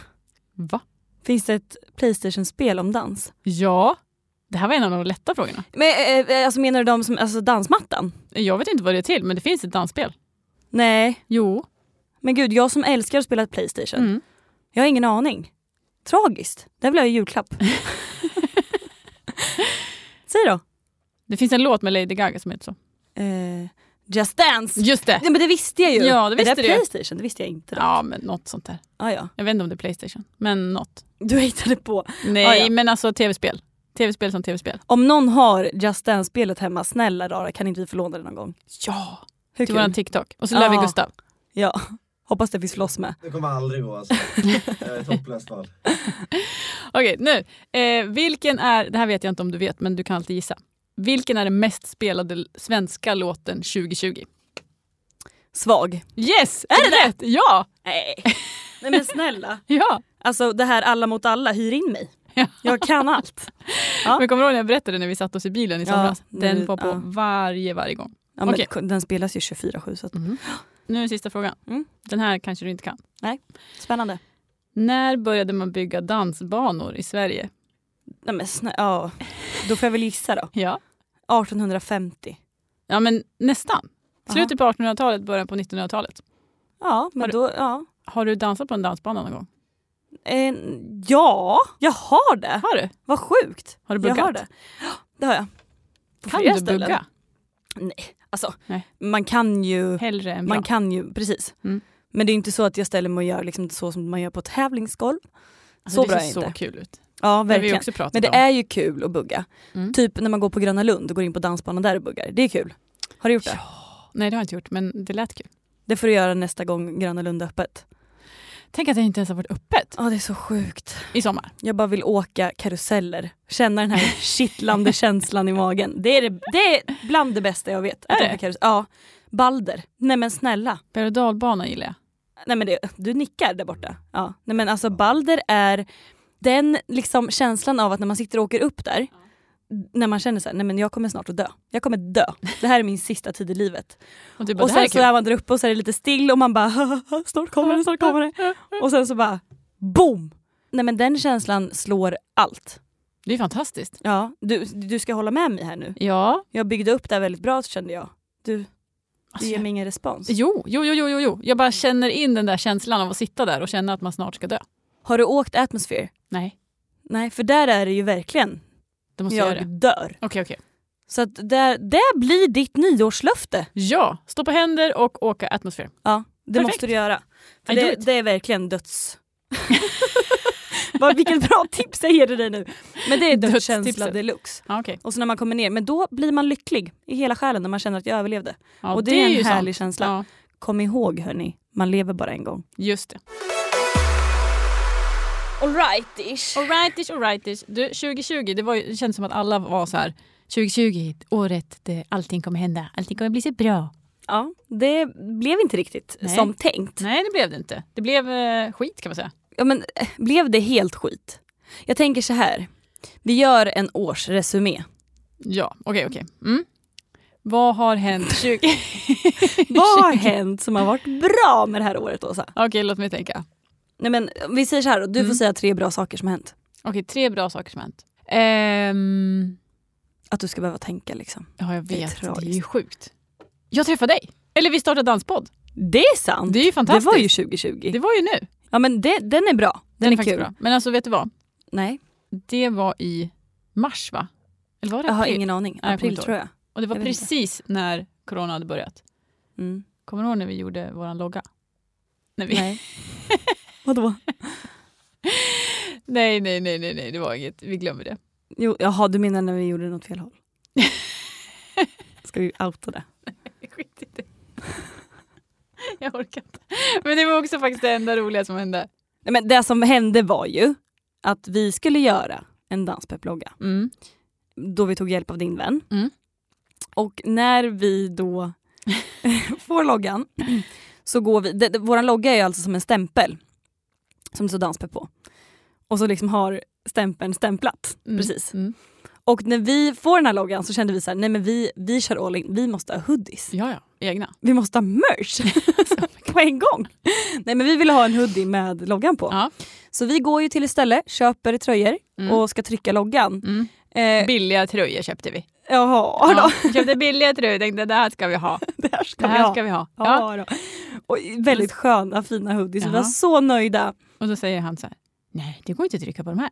[SPEAKER 3] Va?
[SPEAKER 2] Finns det ett Playstation-spel om dans?
[SPEAKER 3] Ja, det här var en av de lätta frågorna.
[SPEAKER 2] Men, eh, eh, alltså, menar du de som, alltså dansmattan?
[SPEAKER 3] Jag vet inte vad det är till, men det finns ett dansspel.
[SPEAKER 2] Nej,
[SPEAKER 3] Jo.
[SPEAKER 2] men gud jag som älskar att spela Playstation.
[SPEAKER 3] Mm.
[SPEAKER 2] Jag har ingen aning. Tragiskt. Det här vill jag ha i julklapp. Säg då.
[SPEAKER 3] Det finns en låt med Lady Gaga som heter så.
[SPEAKER 2] Eh, Just Dance.
[SPEAKER 3] Just det!
[SPEAKER 2] Nej, men det visste jag ju.
[SPEAKER 3] Ja, det visste
[SPEAKER 2] är det
[SPEAKER 3] du.
[SPEAKER 2] Playstation? Det visste jag inte. Då.
[SPEAKER 3] Ja, men något sånt där.
[SPEAKER 2] Ah, ja.
[SPEAKER 3] Jag vet inte om det är Playstation, men något.
[SPEAKER 2] Du hittade på.
[SPEAKER 3] Nej,
[SPEAKER 2] Ah, ja.
[SPEAKER 3] men alltså tv-spel. Tv-spel som tv-spel.
[SPEAKER 2] Om någon har Just Dance-spelet hemma, snälla rara kan inte vi få låna det någon gång?
[SPEAKER 3] Ja!
[SPEAKER 2] Hur
[SPEAKER 3] Till
[SPEAKER 2] kul? Ah.
[SPEAKER 3] våran TikTok. Och så lär vi
[SPEAKER 2] Ja.
[SPEAKER 3] Gustav.
[SPEAKER 2] Ja, hoppas det finns floss med.
[SPEAKER 4] Det kommer aldrig gå alltså. Jag är topplöst val.
[SPEAKER 3] Okej, nu. Eh, vilken är, det här vet jag inte om du vet, men du kan alltid gissa. Vilken är den mest spelade l- svenska låten 2020?
[SPEAKER 2] Svag.
[SPEAKER 3] Yes! Är det rätt? Ja!
[SPEAKER 2] Nej. Nej men snälla.
[SPEAKER 3] ja.
[SPEAKER 2] Alltså det här alla mot alla, hyr in mig.
[SPEAKER 3] Ja.
[SPEAKER 2] Jag kan allt. Ja.
[SPEAKER 3] Men kommer du ihåg när jag berättade när vi satte oss i bilen i
[SPEAKER 2] Ja,
[SPEAKER 3] somras?
[SPEAKER 2] nu-
[SPEAKER 3] Den var på
[SPEAKER 2] ja.
[SPEAKER 3] varje, varje gång.
[SPEAKER 2] Ja, men
[SPEAKER 3] Okej.
[SPEAKER 2] Den spelas ju 24-7 så att...
[SPEAKER 3] Mm. Nu är sista frågan.
[SPEAKER 2] Mm.
[SPEAKER 3] Den här kanske du inte kan.
[SPEAKER 2] spännande.
[SPEAKER 3] När började man bygga dansbanor i Sverige?
[SPEAKER 2] Nej men snä- ja. Då får jag väl gissa då.
[SPEAKER 3] Ja,
[SPEAKER 2] 1850.
[SPEAKER 3] ja men nästan.
[SPEAKER 2] Aha.
[SPEAKER 3] Slutet på 1800-talet, början på 1900-talet.
[SPEAKER 2] Ja, men
[SPEAKER 3] Har du-
[SPEAKER 2] då, ja.
[SPEAKER 3] Har du dansat på en dansbana någon gång?
[SPEAKER 2] Eh, ja, jag har det.
[SPEAKER 3] Har du?
[SPEAKER 2] Vad sjukt.
[SPEAKER 3] Har du
[SPEAKER 2] Jag
[SPEAKER 3] buggat?
[SPEAKER 2] har det. Det har jag. På
[SPEAKER 3] Kan
[SPEAKER 2] flera
[SPEAKER 3] du
[SPEAKER 2] ställen.
[SPEAKER 3] bugga?
[SPEAKER 2] Alltså,
[SPEAKER 3] Nej.
[SPEAKER 2] man kan ju...
[SPEAKER 3] Hellre än bra.
[SPEAKER 2] Man kan ju, precis.
[SPEAKER 3] Mm.
[SPEAKER 2] Men det är inte så att jag ställer mig och gör liksom så som man gör på ett tävlingsgolv. så
[SPEAKER 3] Alltså, det
[SPEAKER 2] bra
[SPEAKER 3] ser
[SPEAKER 2] är
[SPEAKER 3] så
[SPEAKER 2] inte.
[SPEAKER 3] kul ut.
[SPEAKER 2] Ja,
[SPEAKER 3] Det har vi ju
[SPEAKER 2] verkligen.
[SPEAKER 3] också pratat
[SPEAKER 2] Men det
[SPEAKER 3] om.
[SPEAKER 2] är ju kul att bugga.
[SPEAKER 3] Mm.
[SPEAKER 2] Typ när man går på Gröna Lund och går in på dansbanan där och buggar. Det är kul. Har du gjort det?
[SPEAKER 3] Nej, det har jag inte gjort, men det lät kul.
[SPEAKER 2] Det får du göra nästa gång Gröna Lund är öppet.
[SPEAKER 3] Tänk att det inte ens har varit öppet
[SPEAKER 2] Ja, det är så sjukt.
[SPEAKER 3] i sommar.
[SPEAKER 2] Jag bara vill åka karuseller. Känna den här kittlande känslan i magen. Det är, det, det är bland det bästa jag vet. Att
[SPEAKER 3] Är det?
[SPEAKER 2] åka karusell. Ja. Balder. Nej men snälla.
[SPEAKER 3] Berg och dalbana gillar jag.
[SPEAKER 2] Nej men det, du nickar där borta. Ja. Nej men alltså Balder är den liksom känslan av att när man sitter och åker upp där när man känner så här, nej men jag kommer snart att dö. Jag kommer dö. Det här är min sista tid i livet.
[SPEAKER 3] Och, du bara,
[SPEAKER 2] Och
[SPEAKER 3] det här
[SPEAKER 2] sen
[SPEAKER 3] är
[SPEAKER 2] så
[SPEAKER 3] kul.
[SPEAKER 2] är man där uppe och så är det lite still och man bara snart kommer det, snart kommer det. Och sen så bara boom! Nej men den känslan slår allt.
[SPEAKER 3] Det är fantastiskt.
[SPEAKER 2] Ja, du, du ska hålla med mig här nu.
[SPEAKER 3] Ja.
[SPEAKER 2] Jag byggde upp det här väldigt bra kände jag. Du, du
[SPEAKER 3] Alltså,
[SPEAKER 2] ger
[SPEAKER 3] jag,
[SPEAKER 2] mig ingen respons.
[SPEAKER 3] jo, jo, jo, jo, jo, jo. Jag bara känner in den där känslan av att sitta där och känna att man snart ska dö.
[SPEAKER 2] Har du åkt Atmosphere?
[SPEAKER 3] Nej,
[SPEAKER 2] Nej, för där är det ju verkligen
[SPEAKER 3] det måste jag göra
[SPEAKER 2] jag
[SPEAKER 3] det.
[SPEAKER 2] dör.
[SPEAKER 3] Okej, okej.
[SPEAKER 2] Så att det, det blir ditt nyårslöfte.
[SPEAKER 3] Ja, stå på händer och åka atmosfär.
[SPEAKER 2] Ja, det
[SPEAKER 3] Perfekt.
[SPEAKER 2] måste du göra. För
[SPEAKER 3] I do
[SPEAKER 2] det,
[SPEAKER 3] it.
[SPEAKER 2] det är verkligen döds... Vad- Vilket bra tips jag ger dig nu. Men det är dödskänsla
[SPEAKER 3] Dödstipset.
[SPEAKER 2] deluxe.
[SPEAKER 3] Ja, okej.
[SPEAKER 2] Och så när man kommer ner, men då blir man lycklig i hela själen när man känner att jag överlevde.
[SPEAKER 3] Ja,
[SPEAKER 2] och det, är en
[SPEAKER 3] ju sant.
[SPEAKER 2] härlig känsla.
[SPEAKER 3] Ja,
[SPEAKER 2] Kom ihåg hörni, man lever bara en gång.
[SPEAKER 3] just det.
[SPEAKER 2] Alright-ish.
[SPEAKER 3] Alrightish, alrightish. Du, 2020, det, var, ju- det kändes som att alla var så här. 2020, året där allting kommer hända. Allting kommer bli så bra.
[SPEAKER 2] Ja, det blev inte riktigt
[SPEAKER 3] Nej.
[SPEAKER 2] som tänkt.
[SPEAKER 3] Nej, det blev det inte. Det blev eh, skit kan man säga.
[SPEAKER 2] ja, men, eh, blev det helt skit? Jag tänker så här. Vi gör en årsresumé.
[SPEAKER 3] Ja, okej, okej. Mm. Vad har hänt 20...
[SPEAKER 2] Vad har hänt som har varit bra med det här året, Åsa?
[SPEAKER 3] okej, låt mig tänka.
[SPEAKER 2] Nej, men, vi säger så här, då. du får
[SPEAKER 3] Mm.
[SPEAKER 2] säga tre bra saker som har hänt.
[SPEAKER 3] Okej, tre bra saker som har hänt. Ehm,
[SPEAKER 2] Att du ska behöva tänka. Liksom.
[SPEAKER 3] ja, jag
[SPEAKER 2] Det är
[SPEAKER 3] vet. Det är,
[SPEAKER 2] tragiskt.
[SPEAKER 3] ju sjukt. Jag träffade dig. Eller vi startade danspodd.
[SPEAKER 2] Det är sant.
[SPEAKER 3] Det är ju
[SPEAKER 2] Det
[SPEAKER 3] fantastiskt.
[SPEAKER 2] var ju 2020.
[SPEAKER 3] det var ju nu.
[SPEAKER 2] Ja, men det, den är bra. Den, är
[SPEAKER 3] faktiskt
[SPEAKER 2] kul.
[SPEAKER 3] Bra. Men alltså, vet du vad?
[SPEAKER 2] Nej,
[SPEAKER 3] Det var i mars, va? Eller var det
[SPEAKER 2] jag har
[SPEAKER 3] april?
[SPEAKER 2] ingen aning.
[SPEAKER 3] Nej, jag kommer
[SPEAKER 2] April
[SPEAKER 3] inte
[SPEAKER 2] tror jag.
[SPEAKER 3] Och det var
[SPEAKER 2] jag vet inte.
[SPEAKER 3] precis när corona hade börjat.
[SPEAKER 2] Mm.
[SPEAKER 3] Kommer du ihåg när vi gjorde vår logga? När vi...
[SPEAKER 2] Nej. Vadå?
[SPEAKER 3] nej, nej, nej, nej, nej, det var inget. Vi glömmer det.
[SPEAKER 2] Jo, jaha, du menar när vi gjorde något fel håll? Ska vi outa det?
[SPEAKER 3] Skit i det. Jag orkar inte. Men det var också faktiskt det enda roliga som hände.
[SPEAKER 2] Nej, men det som hände var ju att vi skulle göra en danspepplogga
[SPEAKER 3] Mm.
[SPEAKER 2] då vi tog hjälp av din vän.
[SPEAKER 3] Mm.
[SPEAKER 2] Och när vi då får loggan så går vi... Det, det, vår logga är ju alltså som en stämpel som det står danspepp på. Och så liksom har stämpeln stämplat. Precis.
[SPEAKER 3] Mm.
[SPEAKER 2] Och när vi får den här loggan så kände vi så här, nej men vi, vi kör all in, vi måste ha hoodies.
[SPEAKER 3] Ja, ja. Egna.
[SPEAKER 2] Vi måste ha merch på en gång. Nej men vi ville ha en hoodie med loggan på.
[SPEAKER 3] Ja.
[SPEAKER 2] Så vi går ju till ett ställe, köper tröjor
[SPEAKER 3] Mm.
[SPEAKER 2] och ska trycka loggan.
[SPEAKER 3] Mm.
[SPEAKER 2] Eh,
[SPEAKER 3] Billiga tröjor köpte vi.
[SPEAKER 2] jaha då,
[SPEAKER 3] vi köpte billiga tröjor tänkte det här ska vi ha.
[SPEAKER 2] det här ska
[SPEAKER 3] Det
[SPEAKER 2] vi ha.
[SPEAKER 3] här ska vi ha.
[SPEAKER 2] Ja.
[SPEAKER 3] Ja.
[SPEAKER 2] då. Och väldigt sköna fina hoodies, vi
[SPEAKER 3] Jaha.
[SPEAKER 2] var så nöjda.
[SPEAKER 3] Och då säger han så här, nej det går inte att trycka på de här.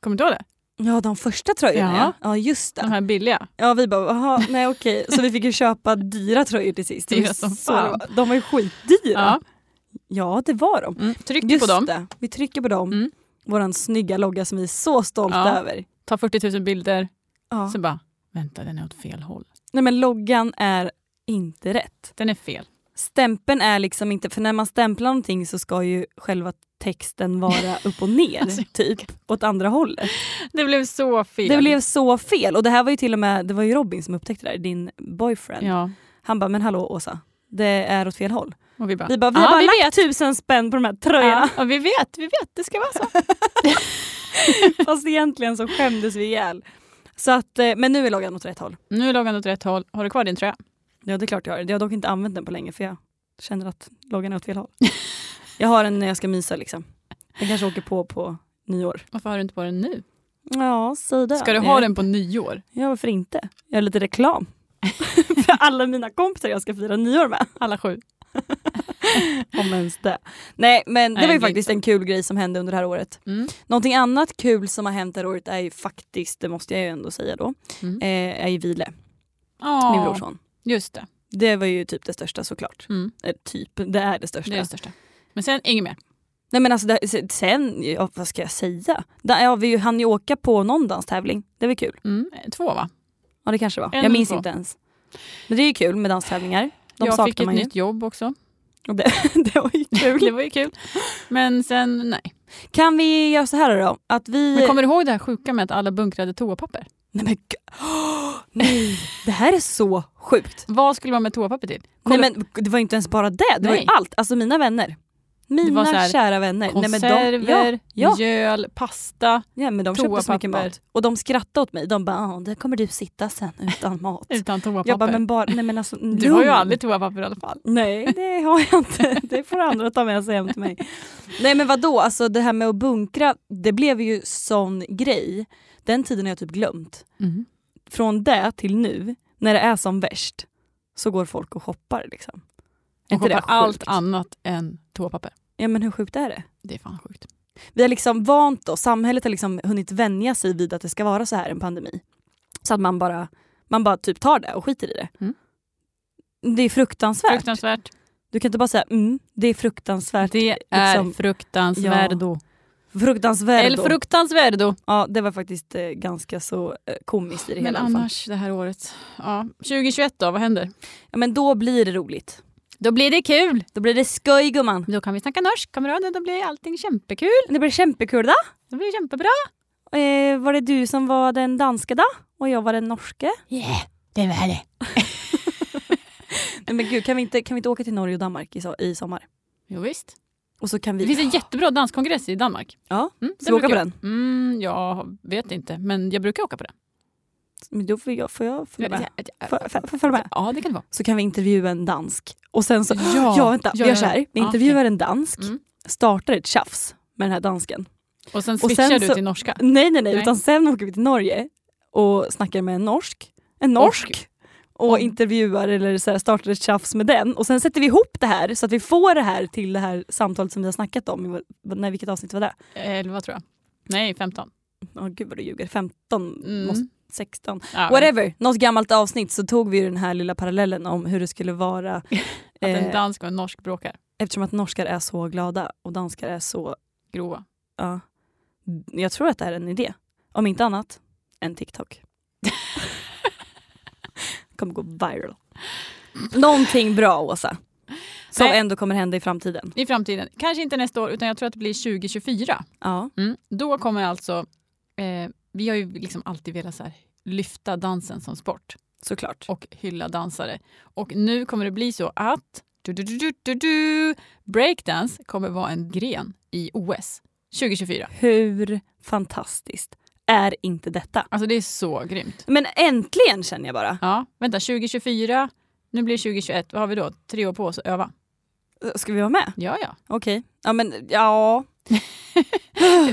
[SPEAKER 3] Kommer du ihåg det?
[SPEAKER 2] Ja de första tröjorna ja.
[SPEAKER 3] Ja.
[SPEAKER 2] Ja just
[SPEAKER 3] De
[SPEAKER 2] det.
[SPEAKER 3] här billiga.
[SPEAKER 2] Ja vi bara jaha nej okej. Så vi fick ju köpa dyra tröjor till sist.
[SPEAKER 3] Dyra
[SPEAKER 2] Det var
[SPEAKER 3] som
[SPEAKER 2] så-
[SPEAKER 3] fan.
[SPEAKER 2] De var ju skitdyra.
[SPEAKER 3] Ja.
[SPEAKER 2] Ja, det var de.
[SPEAKER 3] Mm. Tryck
[SPEAKER 2] Just
[SPEAKER 3] på dem,
[SPEAKER 2] det, vi trycker på dem.
[SPEAKER 3] Mm.
[SPEAKER 2] Våran snygga logga som vi är så stolta
[SPEAKER 3] Ja.
[SPEAKER 2] över.
[SPEAKER 3] ta 40 000 bilder,
[SPEAKER 2] Ja.
[SPEAKER 3] så bara, vänta den är åt fel håll.
[SPEAKER 2] Nej men loggan är inte rätt.
[SPEAKER 3] Den är fel.
[SPEAKER 2] stämpeln är liksom inte, för när man stämplar någonting så ska ju själva texten vara upp och ner,
[SPEAKER 3] Alltså,
[SPEAKER 2] typ, åt andra hållet.
[SPEAKER 3] Det blev så fel.
[SPEAKER 2] Det blev så fel och det här var ju till och med, det var ju Robin som upptäckte det här, din boyfriend.
[SPEAKER 3] Ja,
[SPEAKER 2] Han bara, men hallå Åsa, det är åt fel håll.
[SPEAKER 3] och vi bara,
[SPEAKER 2] Vi bara, vi har
[SPEAKER 3] "Ja,
[SPEAKER 2] bara
[SPEAKER 3] vi
[SPEAKER 2] lagt tusen spänn på de här tröjorna.
[SPEAKER 3] Ja, och vi vet, vi vet, det ska vara så.
[SPEAKER 2] Fast egentligen så skämdes vi ihjäl. Så att, eh, men nu är loggan åt rätt håll.
[SPEAKER 3] Nu är loggan åt rätt håll. Har du kvar din tröja?
[SPEAKER 2] Ja det är klart jag har. Jag har dock inte använt den på länge för jag känner att loggan är åt fel håll. jag har den när jag ska mysa liksom. Den kanske åker på på nyår.
[SPEAKER 3] Varför har du inte på den nu?
[SPEAKER 2] Ja, säg det.
[SPEAKER 3] Ska du ha den på nyår?
[SPEAKER 2] Ja, varför inte? Jag har lite reklam. För alla mina kompisar jag ska fira nyår med.
[SPEAKER 3] Alla sju.
[SPEAKER 2] Om ens det. Nej men det
[SPEAKER 3] Nej,
[SPEAKER 2] var ju
[SPEAKER 3] det är
[SPEAKER 2] faktiskt en kul grej som hände under det här året.
[SPEAKER 3] Mm.
[SPEAKER 2] Någonting annat kul som har hänt det här året är ju faktiskt, det måste jag ju ändå säga då,
[SPEAKER 3] Mm.
[SPEAKER 2] eh, är ju Vile,
[SPEAKER 3] Ja,
[SPEAKER 2] min brorson.
[SPEAKER 3] Just det.
[SPEAKER 2] Det var ju typ det största såklart.
[SPEAKER 3] Mm.
[SPEAKER 2] Eh, typ, det är det största.
[SPEAKER 3] Det är det största. Men sen inget mer.
[SPEAKER 2] Nej men alltså det, se- sen, ja, vad ska jag säga? Där, ja, vi hann ju åka på någon danstävling, det var kul.
[SPEAKER 3] Mm. Två va?
[SPEAKER 2] Ja det kanske det var,
[SPEAKER 3] En
[SPEAKER 2] jag
[SPEAKER 3] eller
[SPEAKER 2] minns
[SPEAKER 3] två.
[SPEAKER 2] inte ens. Men det är ju kul med danstävlingar. De
[SPEAKER 3] jag
[SPEAKER 2] saknar
[SPEAKER 3] fick ett
[SPEAKER 2] man ju.
[SPEAKER 3] nytt jobb också.
[SPEAKER 2] Och Det, det var ju
[SPEAKER 3] Det
[SPEAKER 2] kul.
[SPEAKER 3] var ju kul. Men sen nej.
[SPEAKER 2] kan vi göra så här då? Att vi...
[SPEAKER 3] Men kommer du ihåg det här sjuka med att alla bunkrade toapapper?
[SPEAKER 2] Nej men gud. nej. Det här är så sjukt.
[SPEAKER 3] Vad skulle man med toapapper till? Kolla-
[SPEAKER 2] Nej, men det var inte ens bara det, det var ju
[SPEAKER 3] Nej.
[SPEAKER 2] allt. Alltså mina vänner. Mina
[SPEAKER 3] var så här,
[SPEAKER 2] kära vänner. Nej, men de-
[SPEAKER 3] Konserver,
[SPEAKER 2] ja, ja.
[SPEAKER 3] mjöl, pasta
[SPEAKER 2] ja, men de köpte så mycket
[SPEAKER 3] toapapper.
[SPEAKER 2] mat. Och de skrattade åt mig. De bara, "Ah, där kommer du sitta sen utan mat.
[SPEAKER 3] utan toapapper.
[SPEAKER 2] Jag bara, men bara, nej men alltså
[SPEAKER 3] Du har ju
[SPEAKER 2] lugn.
[SPEAKER 3] aldrig toapapper i alla fall.
[SPEAKER 2] Nej det har jag inte, det får andra ta med sig hem till mig. Nej men vadå, alltså det här med att bunkra, det blev ju sån grej. Den tiden har jag typ glömt. Från det till nu, när det är som värst, så går folk och shoppar liksom. Är
[SPEAKER 3] Och
[SPEAKER 2] inte det
[SPEAKER 3] shoppa allt
[SPEAKER 2] sjukt?
[SPEAKER 3] annat än toapapper.
[SPEAKER 2] Ja men hur sjukt är det?
[SPEAKER 3] Det är fan sjukt.
[SPEAKER 2] Vi har liksom vant oss, samhället har liksom hunnit vänja sig vid att det ska vara så här en pandemi. Så att man bara, man bara typ tar det och skiter i det.
[SPEAKER 3] Mm.
[SPEAKER 2] Det är fruktansvärt.
[SPEAKER 3] Fruktansvärt.
[SPEAKER 2] Du kan inte bara säga mm, det är fruktansvärt.
[SPEAKER 3] Det är
[SPEAKER 2] liksom-
[SPEAKER 3] fruktansvärdo.
[SPEAKER 2] Fruktansvärt.
[SPEAKER 3] El fruktansvärdo.
[SPEAKER 2] Ja, det var faktiskt eh, ganska så eh, komiskt i det
[SPEAKER 3] Men
[SPEAKER 2] hela. i alla fall.
[SPEAKER 3] annars det här året. Ja. 2021 då, vad händer?
[SPEAKER 2] Ja, men då blir det roligt.
[SPEAKER 3] Då blir det kul.
[SPEAKER 2] Då blir det skoj gumman.
[SPEAKER 3] Då kan vi snacka norsk, kommer du ihåg det? Då blir allting kämpekul.
[SPEAKER 2] Det blir kämpekul då.
[SPEAKER 3] Då blir det kämpebra.
[SPEAKER 2] Eh, var det du som var den danske då? Och jag var den norske?
[SPEAKER 3] Yeah, det var det.
[SPEAKER 2] Nej men gud, kan vi inte, kan vi inte åka till Norge och Danmark i, so- i sommar?
[SPEAKER 3] Jo, visst.
[SPEAKER 2] Och så kan vi...
[SPEAKER 3] Det finns en jättebra danskongress i Danmark.
[SPEAKER 2] Ja,
[SPEAKER 3] Mm, den
[SPEAKER 2] Ska vi åka
[SPEAKER 3] brukar
[SPEAKER 2] på
[SPEAKER 3] jag-
[SPEAKER 2] den?
[SPEAKER 3] Mm, jag vet inte, men jag brukar åka på den.
[SPEAKER 2] Men då får jag, får jag följa med? Får får-
[SPEAKER 3] Ja,
[SPEAKER 2] får jag följa med?
[SPEAKER 3] det kan det vara.
[SPEAKER 2] Så kan vi intervjua en dansk. Och sen så... Ja, vänta. Vi
[SPEAKER 3] ja,
[SPEAKER 2] gör
[SPEAKER 3] ja.
[SPEAKER 2] så här. Vi
[SPEAKER 3] Ja,
[SPEAKER 2] intervjuar en dansk,
[SPEAKER 3] Mm.
[SPEAKER 2] startar ett tjafs med den här dansken.
[SPEAKER 3] okej. Och sen
[SPEAKER 2] sen
[SPEAKER 3] switchar du
[SPEAKER 2] så-
[SPEAKER 3] till norska.
[SPEAKER 2] Nej, nej, nej,
[SPEAKER 3] Nej.
[SPEAKER 2] Utan sen åker vi till Norge och snackar med en norsk. En norsk! Och
[SPEAKER 3] Om-
[SPEAKER 2] intervjuar eller så här, startar ett tjafs med den. Och sen sätter vi ihop det här så att vi får det här till det här samtalet som vi har snackat om. i vår- Nej, vilket avsnitt var det?
[SPEAKER 3] 11 tror jag. Nej, 15.
[SPEAKER 2] Åh gud vad du ljuger. 15,
[SPEAKER 3] Mm.
[SPEAKER 2] måste, 16.
[SPEAKER 3] Ja,
[SPEAKER 2] Whatever, något gammalt avsnitt så tog vi ju den här lilla parallellen om hur det skulle vara
[SPEAKER 3] Att en
[SPEAKER 2] eh,
[SPEAKER 3] dansk och en norsk bråkar.
[SPEAKER 2] eftersom att norskar är så glada och danskar är så...
[SPEAKER 3] Grova.
[SPEAKER 2] Ja. jag tror att det här är en idé. Om inte annat, en TikTok. kommer gå viral. Någonting bra Åsa. Som
[SPEAKER 3] Nej.
[SPEAKER 2] ändå kommer hända i framtiden.
[SPEAKER 3] I framtiden. Kanske inte nästa år, utan jag tror att det blir 2024.
[SPEAKER 2] Ja.
[SPEAKER 3] Mm. Då kommer alltså... Eh, vi har ju liksom alltid velat så här, lyfta dansen som sport.
[SPEAKER 2] Såklart.
[SPEAKER 3] och hylla dansare. Och nu kommer det bli så att du, du, du, du, du, du, breakdance kommer vara en gren i OS 2024.
[SPEAKER 2] Hur fantastiskt är inte detta?
[SPEAKER 3] Alltså det är så grymt.
[SPEAKER 2] Men äntligen känner jag bara.
[SPEAKER 3] Ja, vänta 2024, nu blir det 2021, vad har vi då? Tre år på oss att öva.
[SPEAKER 2] Ska vi vara med?
[SPEAKER 3] Ja, ja.
[SPEAKER 2] Okej. Ja men ja.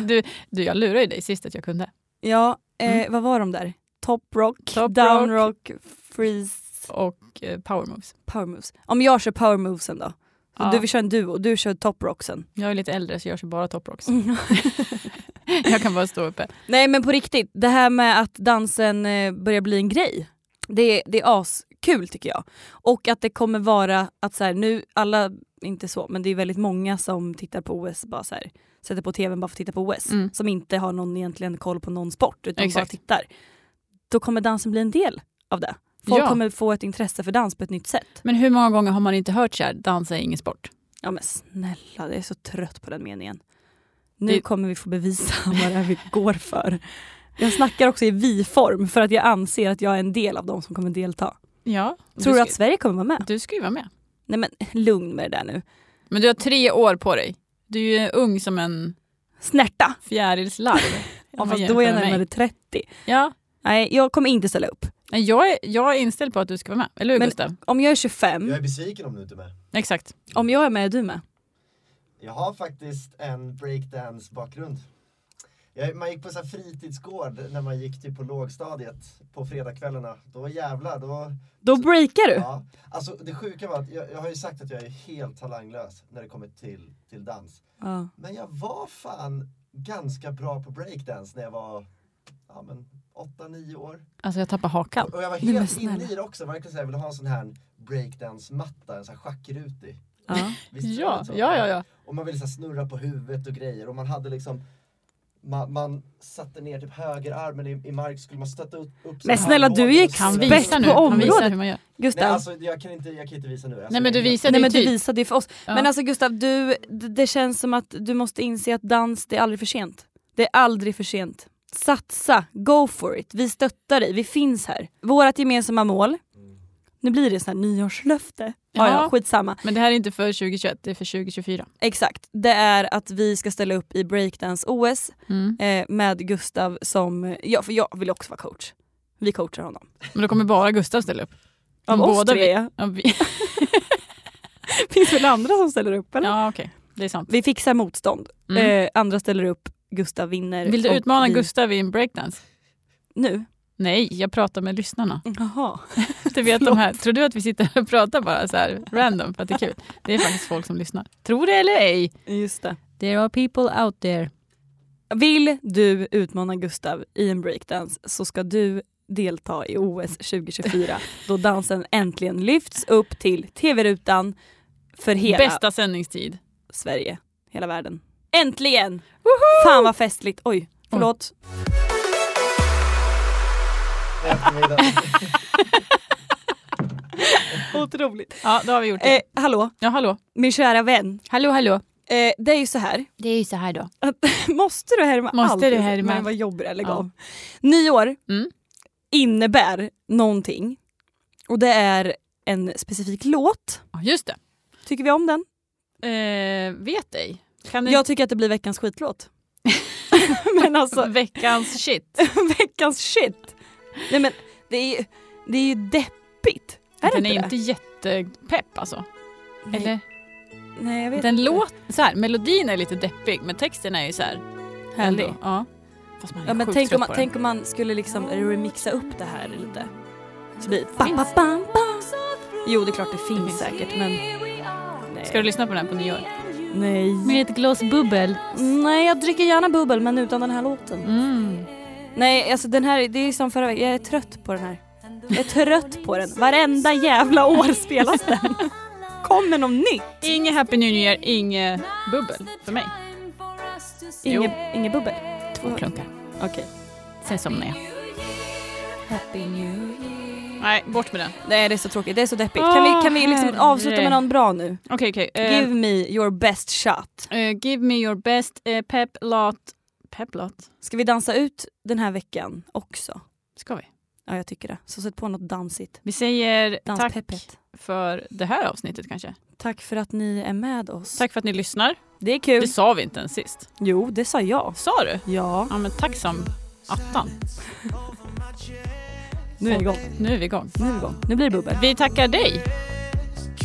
[SPEAKER 3] Du, du, jag lurade ju dig sist att jag kunde.
[SPEAKER 2] Ja, eh,
[SPEAKER 3] Mm.
[SPEAKER 2] vad var de där? Top rock,
[SPEAKER 3] Top
[SPEAKER 2] down rock, freeze,
[SPEAKER 3] Och eh, power moves.
[SPEAKER 2] power moves. Om jag kör power movesen då? Så
[SPEAKER 3] Ja.
[SPEAKER 2] Du vill köra en duo, du kör top rocksen.
[SPEAKER 3] Jag är lite äldre så jag kör bara top rocks. Jag kan bara stå uppe.
[SPEAKER 2] Nej men på riktigt, det här med att dansen eh, börjar bli en grej, det, det är askul tycker jag. Och att det kommer vara att så här, nu, alla, inte så, men det är väldigt många som tittar på OS, bara så här, sätter på tvn bara för att titta på OS,
[SPEAKER 3] Mm.
[SPEAKER 2] som inte har någon egentligen koll på någon sport utan bara
[SPEAKER 3] Exakt.
[SPEAKER 2] tittar. Då kommer dansen bli en del av det. Folk
[SPEAKER 3] Ja.
[SPEAKER 2] kommer få ett intresse för dans på ett nytt sätt.
[SPEAKER 3] Men hur många gånger har man inte hört så här, dansa är ingen sport?
[SPEAKER 2] Ja men snälla, jag är så trött på den meningen. Nu
[SPEAKER 3] Det-
[SPEAKER 2] kommer vi få bevisa vad det är vi går för. Jag snackar också i vi-form för att jag anser att jag är en del av de som kommer delta.
[SPEAKER 3] Ja.
[SPEAKER 2] Tror du
[SPEAKER 3] ska,
[SPEAKER 2] att Sverige kommer vara med?
[SPEAKER 3] Du ska ju vara med.
[SPEAKER 2] Nej men lugn med det där nu.
[SPEAKER 3] Men du har tre år på dig. Du är ju ung som en
[SPEAKER 2] Snärta!
[SPEAKER 3] fjärilslarv.
[SPEAKER 2] Ja,
[SPEAKER 3] om man
[SPEAKER 2] fast då är jag
[SPEAKER 3] jämför med
[SPEAKER 2] närmare
[SPEAKER 3] mig.
[SPEAKER 2] 30.
[SPEAKER 3] Ja.
[SPEAKER 2] Nej, jag kommer inte ställa upp.
[SPEAKER 3] Nej, Jag, är, jag är inställd på att du ska vara med. Eller hur
[SPEAKER 2] Men-
[SPEAKER 3] Gustav?
[SPEAKER 2] Om jag är
[SPEAKER 4] Jag
[SPEAKER 2] 25,
[SPEAKER 4] är besviken om du inte är med.
[SPEAKER 3] Exakt.
[SPEAKER 2] om jag är med är du med.
[SPEAKER 4] Jag har faktiskt en breakdance-bakgrund. Jag, man gick på så här fritidsgård när man gick typ på lågstadiet på fredagskvällarna. Då jävlar, då...
[SPEAKER 2] Då breakar du.
[SPEAKER 4] Ja. Alltså det sjuka var att jag, jag har ju sagt att jag är helt talanglös när det kommer till, till dans.
[SPEAKER 2] Ja.
[SPEAKER 4] Men jag var fan ganska bra på breakdance när jag var ja, men, 8-9 år.
[SPEAKER 3] Alltså jag tappar hakan.
[SPEAKER 4] Och, och jag var
[SPEAKER 2] Nej, men
[SPEAKER 4] helt inne
[SPEAKER 2] snälla.
[SPEAKER 4] i det också. Verkligen så här, jag ville ha en sån här breakdance-matta, en sån här schackrutig.
[SPEAKER 2] Ja.
[SPEAKER 4] Visst var
[SPEAKER 3] Ja,
[SPEAKER 4] det så?
[SPEAKER 3] ja, ja, ja.
[SPEAKER 4] Och man ville så här, snurra på huvudet och grejer och man hade liksom man, man satte ner typ högerarmen i, i mark skulle man stötta upp, upp så
[SPEAKER 2] Men
[SPEAKER 4] här
[SPEAKER 2] snälla, du är ju
[SPEAKER 4] armbågen.
[SPEAKER 3] Han
[SPEAKER 2] Bäst
[SPEAKER 3] visar nu.
[SPEAKER 2] på
[SPEAKER 3] Han visar
[SPEAKER 2] området.
[SPEAKER 3] hur man gör.
[SPEAKER 2] Gustav,
[SPEAKER 4] Nej alltså jag kan inte, jag kan inte visa nu. Alltså,
[SPEAKER 3] Nej men du
[SPEAKER 4] jag-
[SPEAKER 3] visar
[SPEAKER 2] nej,
[SPEAKER 3] det
[SPEAKER 2] men du
[SPEAKER 3] typ.
[SPEAKER 2] visade ju för oss.
[SPEAKER 3] Ja.
[SPEAKER 2] Men alltså Gustav, du, d- det känns som att du måste inse att dans, det är aldrig för sent. Det är aldrig för sent. Satsa, go for it. Vi stöttar dig, vi finns här. Vårt gemensamma mål, nu blir det sån här nyårslöfte. Ja, ja,
[SPEAKER 3] Ja.
[SPEAKER 2] skitsamma.
[SPEAKER 3] Men det här är inte för 2021, det är för 2024.
[SPEAKER 2] Exakt, det är att vi ska ställa upp i breakdance-OS
[SPEAKER 3] Mm.
[SPEAKER 2] eh, med Gustav som, ja, för jag vill också vara coach. Vi coachar honom.
[SPEAKER 3] Men då kommer bara Gustav ställa upp.
[SPEAKER 2] Av
[SPEAKER 3] Båda
[SPEAKER 2] oss tre,
[SPEAKER 3] vi.
[SPEAKER 2] ja.
[SPEAKER 3] Ja, vi.
[SPEAKER 2] finns väl andra som ställer upp eller?
[SPEAKER 3] ja okej. Det är sant.
[SPEAKER 2] Vi fixar motstånd.
[SPEAKER 3] Mm.
[SPEAKER 2] Eh, andra ställer upp, Gustav vinner.
[SPEAKER 3] Vill du
[SPEAKER 2] Eh, och
[SPEAKER 3] utmana
[SPEAKER 2] vi-
[SPEAKER 3] Gustav i en breakdance?
[SPEAKER 2] Nu?
[SPEAKER 3] Nej, jag pratar med lyssnarna.
[SPEAKER 2] Jaha.
[SPEAKER 3] Du vet de här, tror du att vi sitter och pratar bara så här random för att det är kul? Det är faktiskt folk som lyssnar. Tror det eller ej.
[SPEAKER 2] Just det.
[SPEAKER 3] There are people out there.
[SPEAKER 2] Vill du utmana Gustav i en breakdance så ska du delta i OS 2024 då dansen äntligen lyfts upp till tv-rutan för hela
[SPEAKER 3] Bästa sändningstid.
[SPEAKER 2] Sverige, hela världen. Äntligen! Fan vad festligt. Oj, förlåt.
[SPEAKER 4] Eftermiddag.
[SPEAKER 2] Otroligt.
[SPEAKER 3] Ja, då har vi gjort det.
[SPEAKER 2] Eh, hallå,
[SPEAKER 3] Ja, hallå.
[SPEAKER 2] min kära vän.
[SPEAKER 3] Hallå, hallå.
[SPEAKER 2] Eh, det är ju så här.
[SPEAKER 3] Det är ju så här då.
[SPEAKER 2] Måste du härma
[SPEAKER 3] Måste
[SPEAKER 2] allt?
[SPEAKER 3] du härma
[SPEAKER 2] Men
[SPEAKER 3] allt?
[SPEAKER 2] vad jobbig jag lägger
[SPEAKER 3] Ja.
[SPEAKER 2] av. Nyår
[SPEAKER 3] Mm.
[SPEAKER 2] innebär någonting. Och det är en specifik låt.
[SPEAKER 3] Ja, just
[SPEAKER 2] Tycker vi om den?
[SPEAKER 3] det. Eh, vet ej. Kan du
[SPEAKER 2] Jag tycker att det blir veckans skitlåt. men alltså,
[SPEAKER 3] veckans shit?
[SPEAKER 2] veckans shit. Nej men, det är ju, det är ju deppigt. Är
[SPEAKER 3] den
[SPEAKER 2] det
[SPEAKER 3] är ju
[SPEAKER 2] inte
[SPEAKER 3] inte jättepepp alltså.
[SPEAKER 2] det?
[SPEAKER 3] Eller?
[SPEAKER 2] Nej, nej, jag vet
[SPEAKER 3] Den
[SPEAKER 2] inte.
[SPEAKER 3] låt, så här, melodin är lite deppig men texten är ju så här härlig. Ja. Fast man är
[SPEAKER 2] Ja, men
[SPEAKER 3] sjukt
[SPEAKER 2] tänk,
[SPEAKER 3] trött
[SPEAKER 2] om man,
[SPEAKER 3] på den.
[SPEAKER 2] tänk om man skulle liksom remixa upp det här lite. Så blir det ba,
[SPEAKER 3] Finns
[SPEAKER 2] ba, ba, ba. Jo det är klart det finns,
[SPEAKER 3] finns.
[SPEAKER 2] säkert men... Nej.
[SPEAKER 3] Ska du lyssna på den på nyår?
[SPEAKER 2] Nej.
[SPEAKER 3] ett glas bubbel.
[SPEAKER 2] Nej jag dricker gärna bubbel men utan den här låten.
[SPEAKER 3] Mm.
[SPEAKER 2] Nej alltså den här, det är som förra veckan, jag är trött på den här. Jag är trött på den. Varenda jävla år spelas den. Kommer någon nytt?
[SPEAKER 3] Inget Happy New Year, inget bubbel för mig.
[SPEAKER 2] Inge, inge bubbel?
[SPEAKER 3] Två klunkar.
[SPEAKER 2] Okej.
[SPEAKER 3] Sen somnar jag. Nej, bort med den.
[SPEAKER 2] Nej det är så tråkigt, det är så deppigt. kan vi, kan vi liksom
[SPEAKER 3] Åh,
[SPEAKER 2] avsluta med
[SPEAKER 3] herre.
[SPEAKER 2] någon bra nu?
[SPEAKER 3] Okej, okej. Eh,
[SPEAKER 2] Give me your best shot.
[SPEAKER 3] eh, give me your best eh, pep lot. Pep lot?
[SPEAKER 2] Ska vi dansa ut den här veckan också?
[SPEAKER 3] Ska vi?
[SPEAKER 2] Ja jag tycker det. Så sätt på något dansigt.
[SPEAKER 3] Vi säger tack
[SPEAKER 2] Danspeppet.
[SPEAKER 3] för det här avsnittet kanske.
[SPEAKER 2] Tack för att ni är med oss.
[SPEAKER 3] Tack för att ni lyssnar.
[SPEAKER 2] Det är kul.
[SPEAKER 3] Det sa vi inte ens sist.
[SPEAKER 2] Jo det sa jag.
[SPEAKER 3] Sa du?
[SPEAKER 2] Ja.
[SPEAKER 3] Ja, men tack som attan.
[SPEAKER 2] Nu är vi igång.
[SPEAKER 3] Nu är vi igång.
[SPEAKER 2] Nu är vi igång. Nu blir det bubbel.
[SPEAKER 3] Vi tackar dig.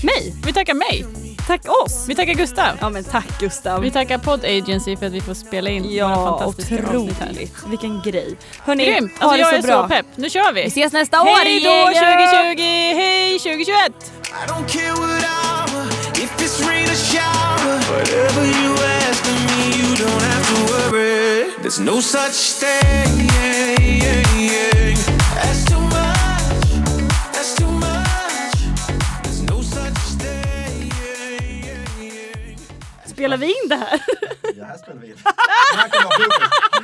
[SPEAKER 2] Mig!
[SPEAKER 3] Vi tackar mig.
[SPEAKER 2] Tack oss!
[SPEAKER 3] Vi tackar Gustav.
[SPEAKER 2] Ja men tack Gustav.
[SPEAKER 3] Vi tackar Pod Agency för att vi får spela in våra
[SPEAKER 2] Ja,
[SPEAKER 3] fantastiska avsnitt här.
[SPEAKER 2] otroligt. Vilken grej. Hörni,
[SPEAKER 3] Grymt!
[SPEAKER 2] ha
[SPEAKER 3] Alltså
[SPEAKER 2] det
[SPEAKER 3] jag
[SPEAKER 2] så
[SPEAKER 3] är
[SPEAKER 2] bra.
[SPEAKER 3] så pepp. Nu kör vi!
[SPEAKER 2] Vi ses nästa år!
[SPEAKER 3] Hej då
[SPEAKER 2] Yeah!
[SPEAKER 3] 2020! Hej 2021!
[SPEAKER 1] I don't care what hour, if it's rain or shower. Whatever you ask of me, you don't have to worry. There's no such thing as too much. That's too much. There's no such thing.
[SPEAKER 2] Spelar vi in det här?
[SPEAKER 4] Det här spelar vi in. Det här kommer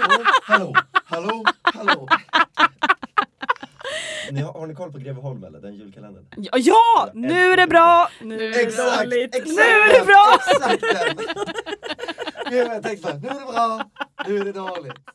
[SPEAKER 4] vara fokus. Hallå, hallå, hallå, hallå. Ni har, har ni koll på Greveholm eller? Den julkalendern?
[SPEAKER 2] Ja, ja! Nu är det bra! Nu är
[SPEAKER 4] Exakt! exakt
[SPEAKER 2] Nu är det bra!
[SPEAKER 4] Exakt den! Gud vad jag tänkte bara, nu är det bra, nu är det dåligt.